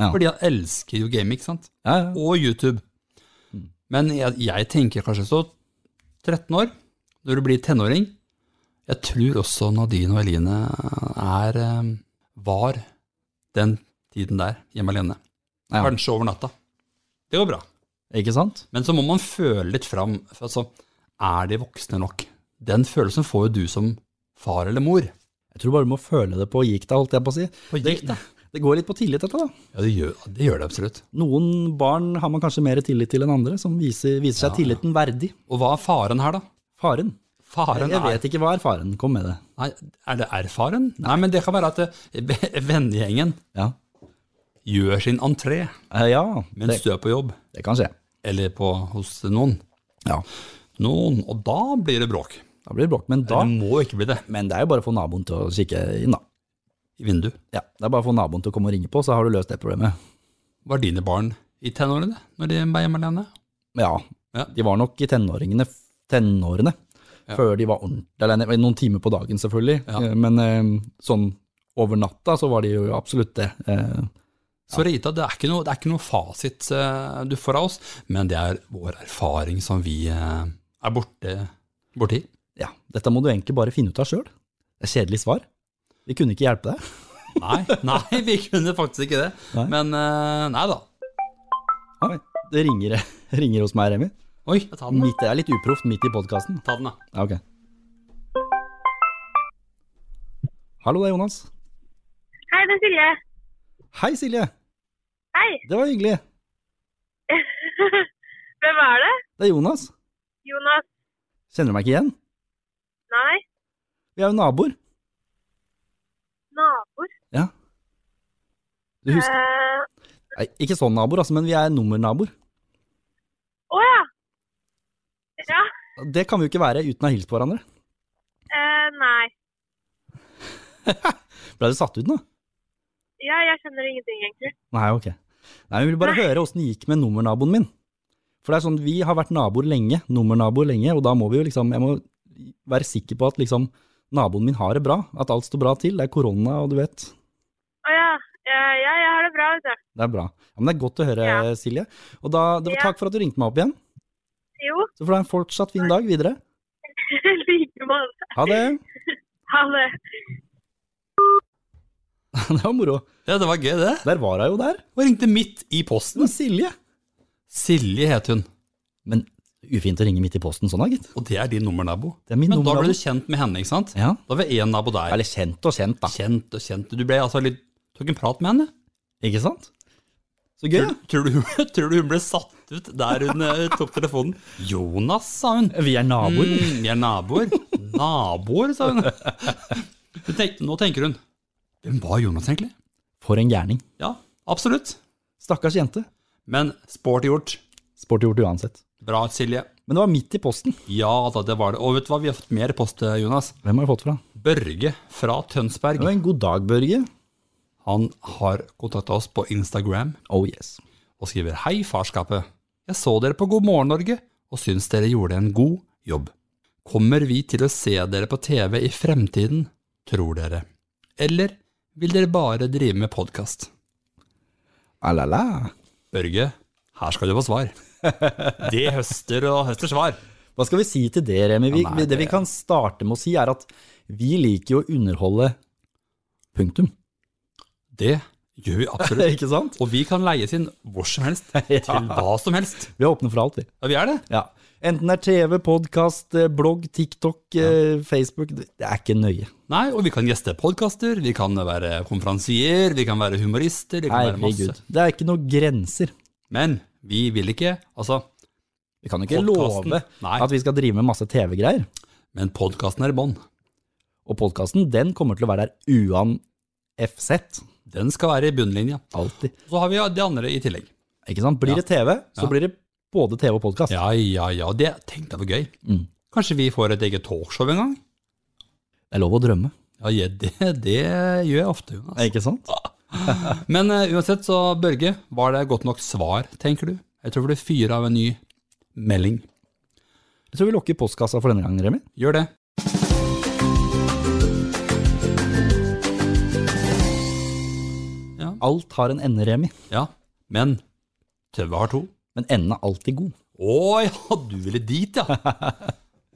[SPEAKER 1] Ja.
[SPEAKER 2] Fordi han elsker jo gaming, ikke sant?
[SPEAKER 1] Ja, ja.
[SPEAKER 2] Og YouTube.
[SPEAKER 1] Mm.
[SPEAKER 2] Men jeg, jeg tenker kanskje så 13 år, når du blir tenåring. Jeg tror også Nadine og Eline er, eh, var den tiden der, hjemme alene.
[SPEAKER 1] Ja.
[SPEAKER 2] Kanskje over natta. Det går bra.
[SPEAKER 1] Ikke sant?
[SPEAKER 2] Men så må man føle litt fram. For altså, er de voksne nok? Den følelsen får jo du som far eller mor.
[SPEAKER 1] Jeg tror bare du må føle det på gikta, holdt jeg på å si.
[SPEAKER 2] På gikta?
[SPEAKER 1] Det, det går litt på tillit, dette, da.
[SPEAKER 2] Ja, det gjør det, gjør det absolutt.
[SPEAKER 1] Noen barn har man kanskje mer tillit til enn andre, som viser, viser seg tilliten verdig.
[SPEAKER 2] Og hva er faren her, da?
[SPEAKER 1] Faren.
[SPEAKER 2] Faren
[SPEAKER 1] Jeg
[SPEAKER 2] er,
[SPEAKER 1] vet ikke hva er faren. Kom med det.
[SPEAKER 2] nei, er det erfaren? Nei. men det kan være at eh, vennegjengen
[SPEAKER 1] Ja,
[SPEAKER 2] gjør sin entré
[SPEAKER 1] Eh, ja det,
[SPEAKER 2] mens du er på jobb,
[SPEAKER 1] det kan skje.
[SPEAKER 2] eller på, hos noen.
[SPEAKER 1] Ja,
[SPEAKER 2] Noen, og da blir det bråk.
[SPEAKER 1] Da blir det bråk. Men, da,
[SPEAKER 2] Det må ikke bli det.
[SPEAKER 1] men det er jo bare å få naboen til å kikke inn, da.
[SPEAKER 2] I vindu.
[SPEAKER 1] Ja, Det er bare å få naboen til å komme og ringe på, så har du løst det problemet.
[SPEAKER 2] Var dine barn i tenårene når de var hjemme alene?
[SPEAKER 1] Ja,
[SPEAKER 2] Ja.
[SPEAKER 1] de var nok i tenåringene, tenårene
[SPEAKER 2] Ja.
[SPEAKER 1] før de var ordentlig alene. Noen timer på dagen, selvfølgelig,
[SPEAKER 2] Ja.
[SPEAKER 1] eh, men eh, sånn over natta så var de jo absolutt det. Eh,
[SPEAKER 2] Så Rita, det er ikke noe, det er ikke noe fasit eh, du får av oss, men det er vår erfaring som vi eh, er borte borti.
[SPEAKER 1] Ja, dette må du egentlig bare finne ut av sjøl. Det er kjedelig svar. Vi kunne ikke hjelpe deg.
[SPEAKER 2] Nei, nei, vi kunne faktisk ikke det.
[SPEAKER 1] Nei.
[SPEAKER 2] Men eh, nei da.
[SPEAKER 1] Oi, Det ringer, ringer hos meg, Remi.
[SPEAKER 2] Oi, ta den, da.
[SPEAKER 1] Midt, det er litt uproft midt i podkasten.
[SPEAKER 2] Ta den, da.
[SPEAKER 1] Ja, ok. Hallo, det er Jonas.
[SPEAKER 5] Hei, det er Silje.
[SPEAKER 1] Hei, Silje.
[SPEAKER 5] Hei.
[SPEAKER 1] Det var hyggelig.
[SPEAKER 5] Hvem er det?
[SPEAKER 1] Det er Jonas.
[SPEAKER 5] Jonas?
[SPEAKER 1] Kjenner du meg ikke igjen?
[SPEAKER 5] Nei.
[SPEAKER 1] Vi er jo naboer.
[SPEAKER 5] Naboer?
[SPEAKER 1] Ja. Du husker
[SPEAKER 5] Eh,
[SPEAKER 1] Nei, Ikke sånn naboer, altså, men vi er nummernaboer.
[SPEAKER 5] Å ja. Ja.
[SPEAKER 1] Det kan vi jo ikke være uten å ha hilst på hverandre.
[SPEAKER 5] Eh, nei.
[SPEAKER 1] Ble du satt ut nå?
[SPEAKER 5] Ja, jeg skjønner ingenting, egentlig.
[SPEAKER 1] Nei, ok. Nei, Jeg vil bare høre åssen det gikk med nummernaboen min. For det er sånn, vi har vært naboer lenge, nummernaboer lenge, og da må vi jo liksom Jeg må være sikker på at liksom naboen min har det bra, at alt står bra til. Det er korona og du vet.
[SPEAKER 5] Å ja. Eh, ja, jeg har det bra, vet du.
[SPEAKER 1] Det er bra. Ja, men det er godt å høre,
[SPEAKER 5] Ja.
[SPEAKER 1] Silje. Og da, det var
[SPEAKER 5] Ja.
[SPEAKER 1] Takk for at du ringte meg opp igjen.
[SPEAKER 5] Jo,
[SPEAKER 1] Så får du ha en fortsatt fin dag videre.
[SPEAKER 5] like måte.
[SPEAKER 1] Ha det!
[SPEAKER 5] Ha det.
[SPEAKER 1] Det var moro.
[SPEAKER 2] Ja, det var gøy, det.
[SPEAKER 1] Der var hun jo der.
[SPEAKER 2] Og ringte midt i
[SPEAKER 1] Det
[SPEAKER 2] posten.
[SPEAKER 1] var Silje.
[SPEAKER 2] Silje het hun,
[SPEAKER 1] Men ufint å ringe midt i posten sånn da, gitt.
[SPEAKER 2] og det er din nummernabo.
[SPEAKER 1] Det er min
[SPEAKER 2] Men da
[SPEAKER 1] nummernabo.
[SPEAKER 2] ble du kjent med henne, ikke sant?
[SPEAKER 1] Ja.
[SPEAKER 2] Da var én nabo der.
[SPEAKER 1] Eller kjent og kjent, da.
[SPEAKER 2] Kjent og kjent. Du ble altså litt Tok en prat med henne?
[SPEAKER 1] Ikke sant? Så gøy, da.
[SPEAKER 2] Tror, du, tror du hun ble satt ut der hun eh, tok telefonen? Jonas, sa hun.
[SPEAKER 1] Vi er naboer.
[SPEAKER 2] Mm, vi er naboer. Naboer, sa hun. Hun tenkte- nå tenker hun Hvem var Jonas, egentlig?
[SPEAKER 1] For en gærning.
[SPEAKER 2] Ja, absolutt.
[SPEAKER 1] Stakkars jente.
[SPEAKER 2] Men sporty gjort.
[SPEAKER 1] Sporty gjort uansett.
[SPEAKER 2] Bra, Silje.
[SPEAKER 1] Men det var midt i posten.
[SPEAKER 2] Ja da, det var det. Og vet du hva, vi har fått mer post, eh, Jonas.
[SPEAKER 1] Hvem har vi fått fra?
[SPEAKER 2] Børge fra Tønsberg.
[SPEAKER 1] Det var en god dag, Børge.
[SPEAKER 2] Han har kontakta oss på Instagram
[SPEAKER 1] Oh yes.
[SPEAKER 2] og skriver Hei, farskapet. Jeg så dere på God morgen, Norge, og syns dere gjorde en god jobb. Kommer vi til å se dere på TV i fremtiden, tror dere? Eller vil dere bare drive med podkast?
[SPEAKER 1] Ah, Alala.
[SPEAKER 2] Børge, her skal du få svar. Det høster og høster svar.
[SPEAKER 1] Hva skal vi si til det, Remi? Vi,
[SPEAKER 2] Ja, nei,
[SPEAKER 1] vi- det vi
[SPEAKER 2] det-
[SPEAKER 1] kan starte med å si, er at vi liker jo å underholde punktum.
[SPEAKER 2] Det gjør vi absolutt.
[SPEAKER 1] Ikke sant?
[SPEAKER 2] Og vi kan leies inn hvor som helst, til hva som helst.
[SPEAKER 1] Vi er åpne for alt, vi.
[SPEAKER 2] Ja, vi er det.
[SPEAKER 1] Ja. Enten det er TV, podkast, blogg, TikTok, eh, Facebook Det det er ikke nøye.
[SPEAKER 2] Nei, og vi kan gjeste podkaster, vi kan være konferansier, vi kan være humorister, det kan være masse.
[SPEAKER 1] Herregud. Det er ikke noen grenser.
[SPEAKER 2] Men vi vil ikke, altså.
[SPEAKER 1] Vi kan jo ikke
[SPEAKER 2] Podcasten,
[SPEAKER 1] love
[SPEAKER 2] nei.
[SPEAKER 1] at vi skal drive med masse TV-greier.
[SPEAKER 2] Men podkasten er i bånn.
[SPEAKER 1] Og podkasten, den kommer til å være der uanfsett.
[SPEAKER 2] Den skal være i bunnlinja.
[SPEAKER 1] Alltid.
[SPEAKER 2] Så har vi ja, de andre i tillegg.
[SPEAKER 1] Ikke sant? Blir det TV, så
[SPEAKER 2] Ja.
[SPEAKER 1] blir det både TV og podkast.
[SPEAKER 2] Ja, ja, ja. Det tenkte jeg var gøy.
[SPEAKER 1] Mm.
[SPEAKER 2] Kanskje vi får et eget talkshow en gang?
[SPEAKER 1] Det er lov å drømme.
[SPEAKER 2] Ja, ja, det, det gjør jeg ofte, Jonas.
[SPEAKER 1] Ikke sant?
[SPEAKER 2] Men eh, uansett, så Børge, var det godt nok svar, tenker du? Jeg tror det blir fire av en ny melding.
[SPEAKER 1] Jeg tror vi lukker postkassa for denne gangen, Remi.
[SPEAKER 2] Gjør det.
[SPEAKER 1] Alt har en ende, Remi.
[SPEAKER 2] Ja. Men Tøve har to.
[SPEAKER 1] Men enden er alltid god.
[SPEAKER 2] Å ja, du ville dit, ja.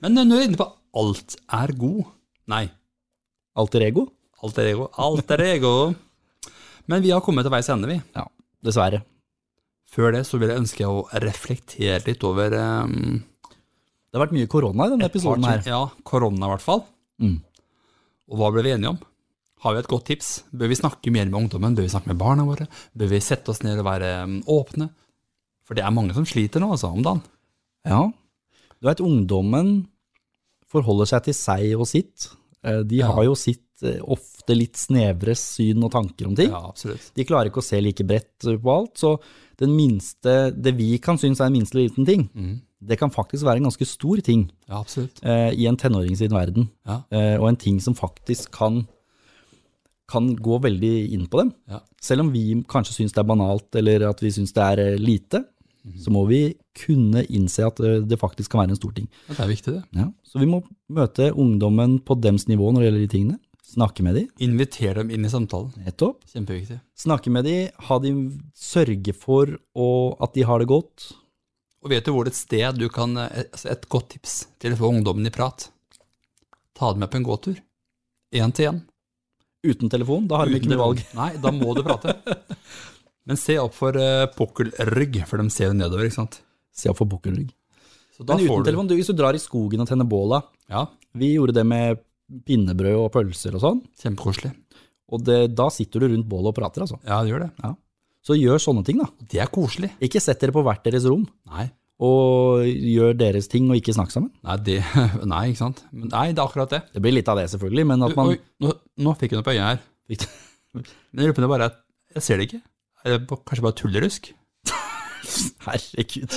[SPEAKER 2] Men når du er inne på alt er god Nei,
[SPEAKER 1] Alter ego?
[SPEAKER 2] alt er ego. Alt er ego. Men vi har kommet til veis ende, vi.
[SPEAKER 1] Ja, dessverre.
[SPEAKER 2] Før det så vil jeg ønske å reflektere litt over um,
[SPEAKER 1] Det har vært mye korona i denne episoden her.
[SPEAKER 2] Ja, korona i hvert fall.
[SPEAKER 1] Mm.
[SPEAKER 2] Og hva ble vi enige om? Har vi et godt tips? Bør vi snakke mer med ungdommen? Bør vi snakke med barna våre? Bør vi sette oss ned og være mm, åpne? For det er mange som sliter nå, altså, om dagen.
[SPEAKER 1] Ja. Du vet, ungdommen forholder seg til seg og sitt. Eh, De
[SPEAKER 2] Ja.
[SPEAKER 1] har jo sitt eh, ofte litt snevre syn og tanker om ting.
[SPEAKER 2] Ja, absolutt.
[SPEAKER 1] De klarer ikke å se like bredt på alt, så den minste, det vi kan synes er en minste liten ting, det kan faktisk være en ganske stor ting
[SPEAKER 2] Ja, absolutt.
[SPEAKER 1] eh, i en tenåring sin verden,
[SPEAKER 2] Ja.
[SPEAKER 1] eh, og en ting som faktisk kan, kan gå veldig inn på dem.
[SPEAKER 2] Ja.
[SPEAKER 1] Selv om vi kanskje syns det er banalt, eller at vi syns det er eh, lite, så må vi kunne innse at eh, det faktisk kan være en stor ting.
[SPEAKER 2] Ja, Det er viktig, det.
[SPEAKER 1] Ja. Så vi må møte ungdommen på dems nivå når det gjelder de tingene. Snakke med de,
[SPEAKER 2] Inviter dem inn i samtalen.
[SPEAKER 1] nettopp.
[SPEAKER 2] Kjempeviktig.
[SPEAKER 1] Snakke med de, ha de sørge for å, at de har det godt.
[SPEAKER 2] Og vet du hvor det er et sted du kan eh, altså Et godt tips til å få ungdommen i prat? Ta dem med på en gåtur. Én til én.
[SPEAKER 1] Uten telefon, da har de ikke
[SPEAKER 2] Uten
[SPEAKER 1] mye valg.
[SPEAKER 2] telefon. Nei, da må du prate. Men se opp for eh, pukkelrygg, for de ser jo nedover, ikke sant.
[SPEAKER 1] Se opp for bukkelrygg.
[SPEAKER 2] Så da
[SPEAKER 1] Men uten
[SPEAKER 2] får du-
[SPEAKER 1] telefon, du, hvis du drar i skogen og tenner båla
[SPEAKER 2] Ja,
[SPEAKER 1] Vi gjorde det med pinnebrød og pølser og sånn,
[SPEAKER 2] kjempekoselig.
[SPEAKER 1] og det, da sitter du rundt bålet og prater, altså.
[SPEAKER 2] Ja, det gjør det.
[SPEAKER 1] Så gjør sånne ting, da.
[SPEAKER 2] Og det er koselig.
[SPEAKER 1] Ikke sett dere på hvert deres rom,
[SPEAKER 2] Nei,
[SPEAKER 1] og gjør deres ting og ikke snakk sammen.
[SPEAKER 2] nei, det, nei ikke sant. Men nei, det er akkurat det.
[SPEAKER 1] Det blir litt av det, selvfølgelig, men at
[SPEAKER 2] Du,
[SPEAKER 1] man
[SPEAKER 2] Oi, nå, nå fikk jeg noe på øyet her. Men jeg lurer på om det bare er Jeg ser det ikke. Er det på- kanskje bare tullerusk?
[SPEAKER 1] Herregud.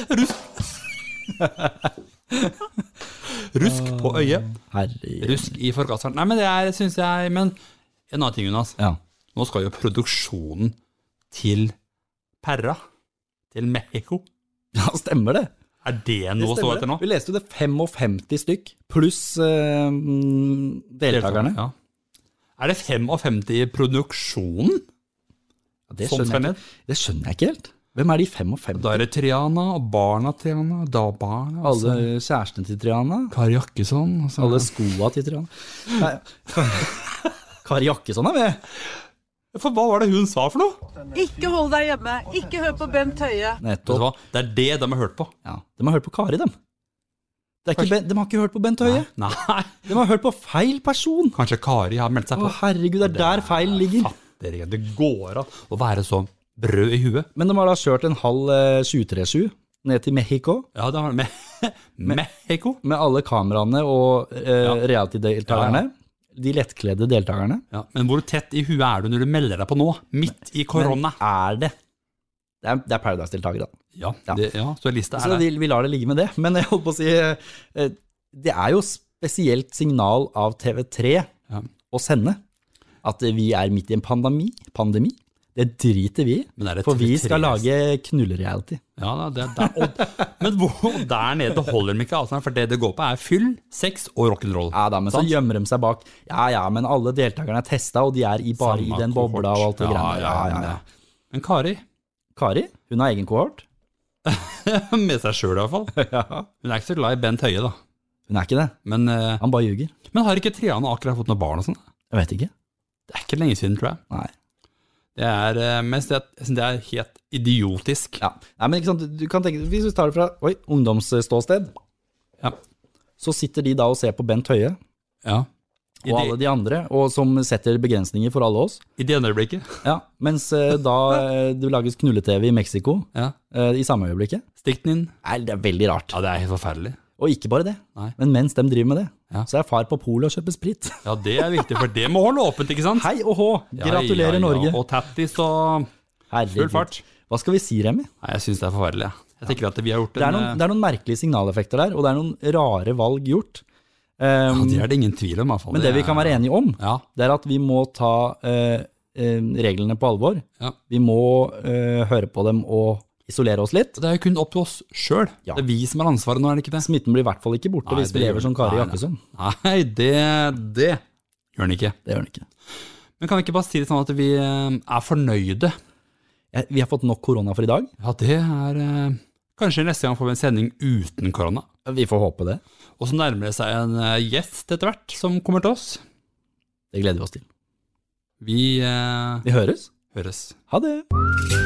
[SPEAKER 2] Rusk på
[SPEAKER 1] Eh,
[SPEAKER 2] øyet.
[SPEAKER 1] Herregud.
[SPEAKER 2] Rusk i forkasteren. Nei, men det er, synes jeg Men en annen ting, Jonas.
[SPEAKER 1] Ja.
[SPEAKER 2] Nå skal jo produksjonen til Perra, til Mexico
[SPEAKER 1] ja, stemmer det.
[SPEAKER 2] Er det noe å stå
[SPEAKER 1] Stemmer
[SPEAKER 2] etter
[SPEAKER 1] det.
[SPEAKER 2] nå?
[SPEAKER 1] Vi leste jo det 55 stykk, pluss eh, mm, deltakerne.
[SPEAKER 2] Ja. Er det 55 i produksjonen
[SPEAKER 1] Ja, det,
[SPEAKER 2] som skal
[SPEAKER 1] skjønner jeg,
[SPEAKER 2] ned?
[SPEAKER 1] ikke- det skjønner jeg ikke helt. Hvem er de 55?
[SPEAKER 2] Da er det Triana og barna Triana, da barna
[SPEAKER 1] Alle
[SPEAKER 2] altså.
[SPEAKER 1] kjærestene til Triana?
[SPEAKER 2] Kari Jakkesson altså.
[SPEAKER 1] Alle skoa til Triana? Nei, Kari Jakkesson er med!
[SPEAKER 2] For hva var det hun sa for noe?
[SPEAKER 4] Ikke hold deg hjemme. Ikke hør på Bent Høie.
[SPEAKER 2] Vet du
[SPEAKER 1] Nettopp.
[SPEAKER 2] hva? Det er det de har hørt på.
[SPEAKER 1] Ja, de har hørt på Kari, dem. Det er ikke ben, de har ikke hørt på Bent Høie.
[SPEAKER 2] Nei,
[SPEAKER 1] De har hørt på feil person!
[SPEAKER 2] kanskje Kari har meldt seg
[SPEAKER 1] Å,
[SPEAKER 2] på.
[SPEAKER 1] herregud, det er der feilen ligger.
[SPEAKER 2] Fatter ikke, det går an å være så brød i huet.
[SPEAKER 1] Men de har da kjørt en halv eh, 737 ned til Mexico
[SPEAKER 2] Ja, det har med Mexico.
[SPEAKER 1] med alle kameraene og eh, reality-deltakerne.
[SPEAKER 2] Ja,
[SPEAKER 1] De lettkledde deltakerne.
[SPEAKER 2] Ja, men hvor tett i huet er du når du melder deg på nå? Midt i korona.
[SPEAKER 1] Men er det Det er, det er Paradise-deltakere, da.
[SPEAKER 2] Ja,
[SPEAKER 1] Ja.
[SPEAKER 2] det, ja så lista
[SPEAKER 1] Så
[SPEAKER 2] er der.
[SPEAKER 1] vi, vi lar det ligge med det. Men jeg holdt på å si eh, Det er jo spesielt signal av TV3
[SPEAKER 2] Ja.
[SPEAKER 1] å sende at vi er midt i en pandemi. pandemi. Det driter vi i.
[SPEAKER 2] Men er det
[SPEAKER 1] For vi
[SPEAKER 2] TV3?
[SPEAKER 1] skal lage knullereality.
[SPEAKER 2] Ja, da, det, der, og, men hvor, der nede det holder de ikke avstand, for det det går på er fyll, sex og rock'n'roll.
[SPEAKER 1] Ja da, men så
[SPEAKER 2] Sant?
[SPEAKER 1] gjemmer de seg bak. Ja ja, men alle deltakerne er testa, og de er i, bare
[SPEAKER 2] Samme
[SPEAKER 1] i den
[SPEAKER 2] kohort.
[SPEAKER 1] bobla og alt det
[SPEAKER 2] Ja,
[SPEAKER 1] greiene der.
[SPEAKER 2] ja,
[SPEAKER 1] Ja, ja,
[SPEAKER 2] ja.
[SPEAKER 1] ja.
[SPEAKER 2] Men Kari,
[SPEAKER 1] Kari, hun har egen kohort.
[SPEAKER 2] med seg sjøl iallfall. Hun er ikke så glad i Bent Høie, da.
[SPEAKER 1] Hun er ikke det.
[SPEAKER 2] Men, eh,
[SPEAKER 1] Han bare ljuger.
[SPEAKER 2] men har ikke Triana akkurat fått noe barn og sånn?
[SPEAKER 1] Jeg vet ikke.
[SPEAKER 2] Det er ikke lenge siden, tror jeg.
[SPEAKER 1] Nei.
[SPEAKER 2] Det er eh, mest det, jeg synes det er helt idiotisk.
[SPEAKER 1] Ja. Nei, men ikke sant, du kan tenke, Hvis vi tar det fra oi, ungdomsståsted,
[SPEAKER 2] Ja.
[SPEAKER 1] så sitter de da og ser på Bent Høie
[SPEAKER 2] ja.
[SPEAKER 1] og
[SPEAKER 2] I, det,
[SPEAKER 1] alle de andre, og som setter begrensninger for alle oss.
[SPEAKER 2] I det ene øyeblikket.
[SPEAKER 1] Ja, Mens eh, da eh, det lages knulle-TV i Mexico
[SPEAKER 2] Ja.
[SPEAKER 1] eh, i samme øyeblikket.
[SPEAKER 2] Stikk den inn.
[SPEAKER 1] Nei, det er veldig rart.
[SPEAKER 2] Ja, det er helt forferdelig.
[SPEAKER 1] Og ikke bare det,
[SPEAKER 2] Nei.
[SPEAKER 1] men mens de driver med det,
[SPEAKER 2] Ja.
[SPEAKER 1] så er far på polet og kjøper sprit.
[SPEAKER 2] Ja, det er viktig, for det må holde åpent, ikke sant?
[SPEAKER 1] Hei og hå! Gratulerer,
[SPEAKER 2] ja, ja,
[SPEAKER 1] Norge.
[SPEAKER 2] Og tattis og
[SPEAKER 1] Herregud.
[SPEAKER 2] full fart.
[SPEAKER 1] Hva skal vi si, Remi?
[SPEAKER 2] Nei, jeg syns det er forferdelig. jeg. Jeg tenker at vi har gjort
[SPEAKER 1] Det er,
[SPEAKER 2] en eh,
[SPEAKER 1] noen, det er noen merkelige signaleffekter der, og det er noen rare valg gjort.
[SPEAKER 2] eh,
[SPEAKER 1] Um,
[SPEAKER 2] ja, Det er det ingen tvil om, i hvert fall.
[SPEAKER 1] men det vi kan være enige om,
[SPEAKER 2] Ja,
[SPEAKER 1] det er at vi må ta eh, eh, reglene på alvor.
[SPEAKER 2] Ja.
[SPEAKER 1] Vi må eh, høre på dem og isolere oss litt.
[SPEAKER 2] så Det er jo kun opp til oss sjøl.
[SPEAKER 1] Ja.
[SPEAKER 2] Det er vi som har ansvaret nå, er det ikke det?
[SPEAKER 1] Smitten blir i hvert fall ikke borte
[SPEAKER 2] Nei,
[SPEAKER 1] hvis vi
[SPEAKER 2] det
[SPEAKER 1] lever
[SPEAKER 2] gjør-
[SPEAKER 1] som Kari
[SPEAKER 2] nei, nei.
[SPEAKER 1] Jakkesson.
[SPEAKER 2] Nei, det, det gjør den ikke.
[SPEAKER 1] Det gjør den ikke.
[SPEAKER 2] Men kan vi ikke bare si det sånn at vi eh, er fornøyde?
[SPEAKER 1] Jeg- Vi har fått nok korona for i dag.
[SPEAKER 2] Ja, det er eh, Kanskje neste gang får vi en sending uten korona.
[SPEAKER 1] Vi får håpe det.
[SPEAKER 2] Og så nærmer det seg en eh, gjest etter hvert som kommer til oss.
[SPEAKER 1] Det gleder vi oss til.
[SPEAKER 2] Vi eh,
[SPEAKER 1] Vi høres.
[SPEAKER 2] høres.
[SPEAKER 1] Ha det.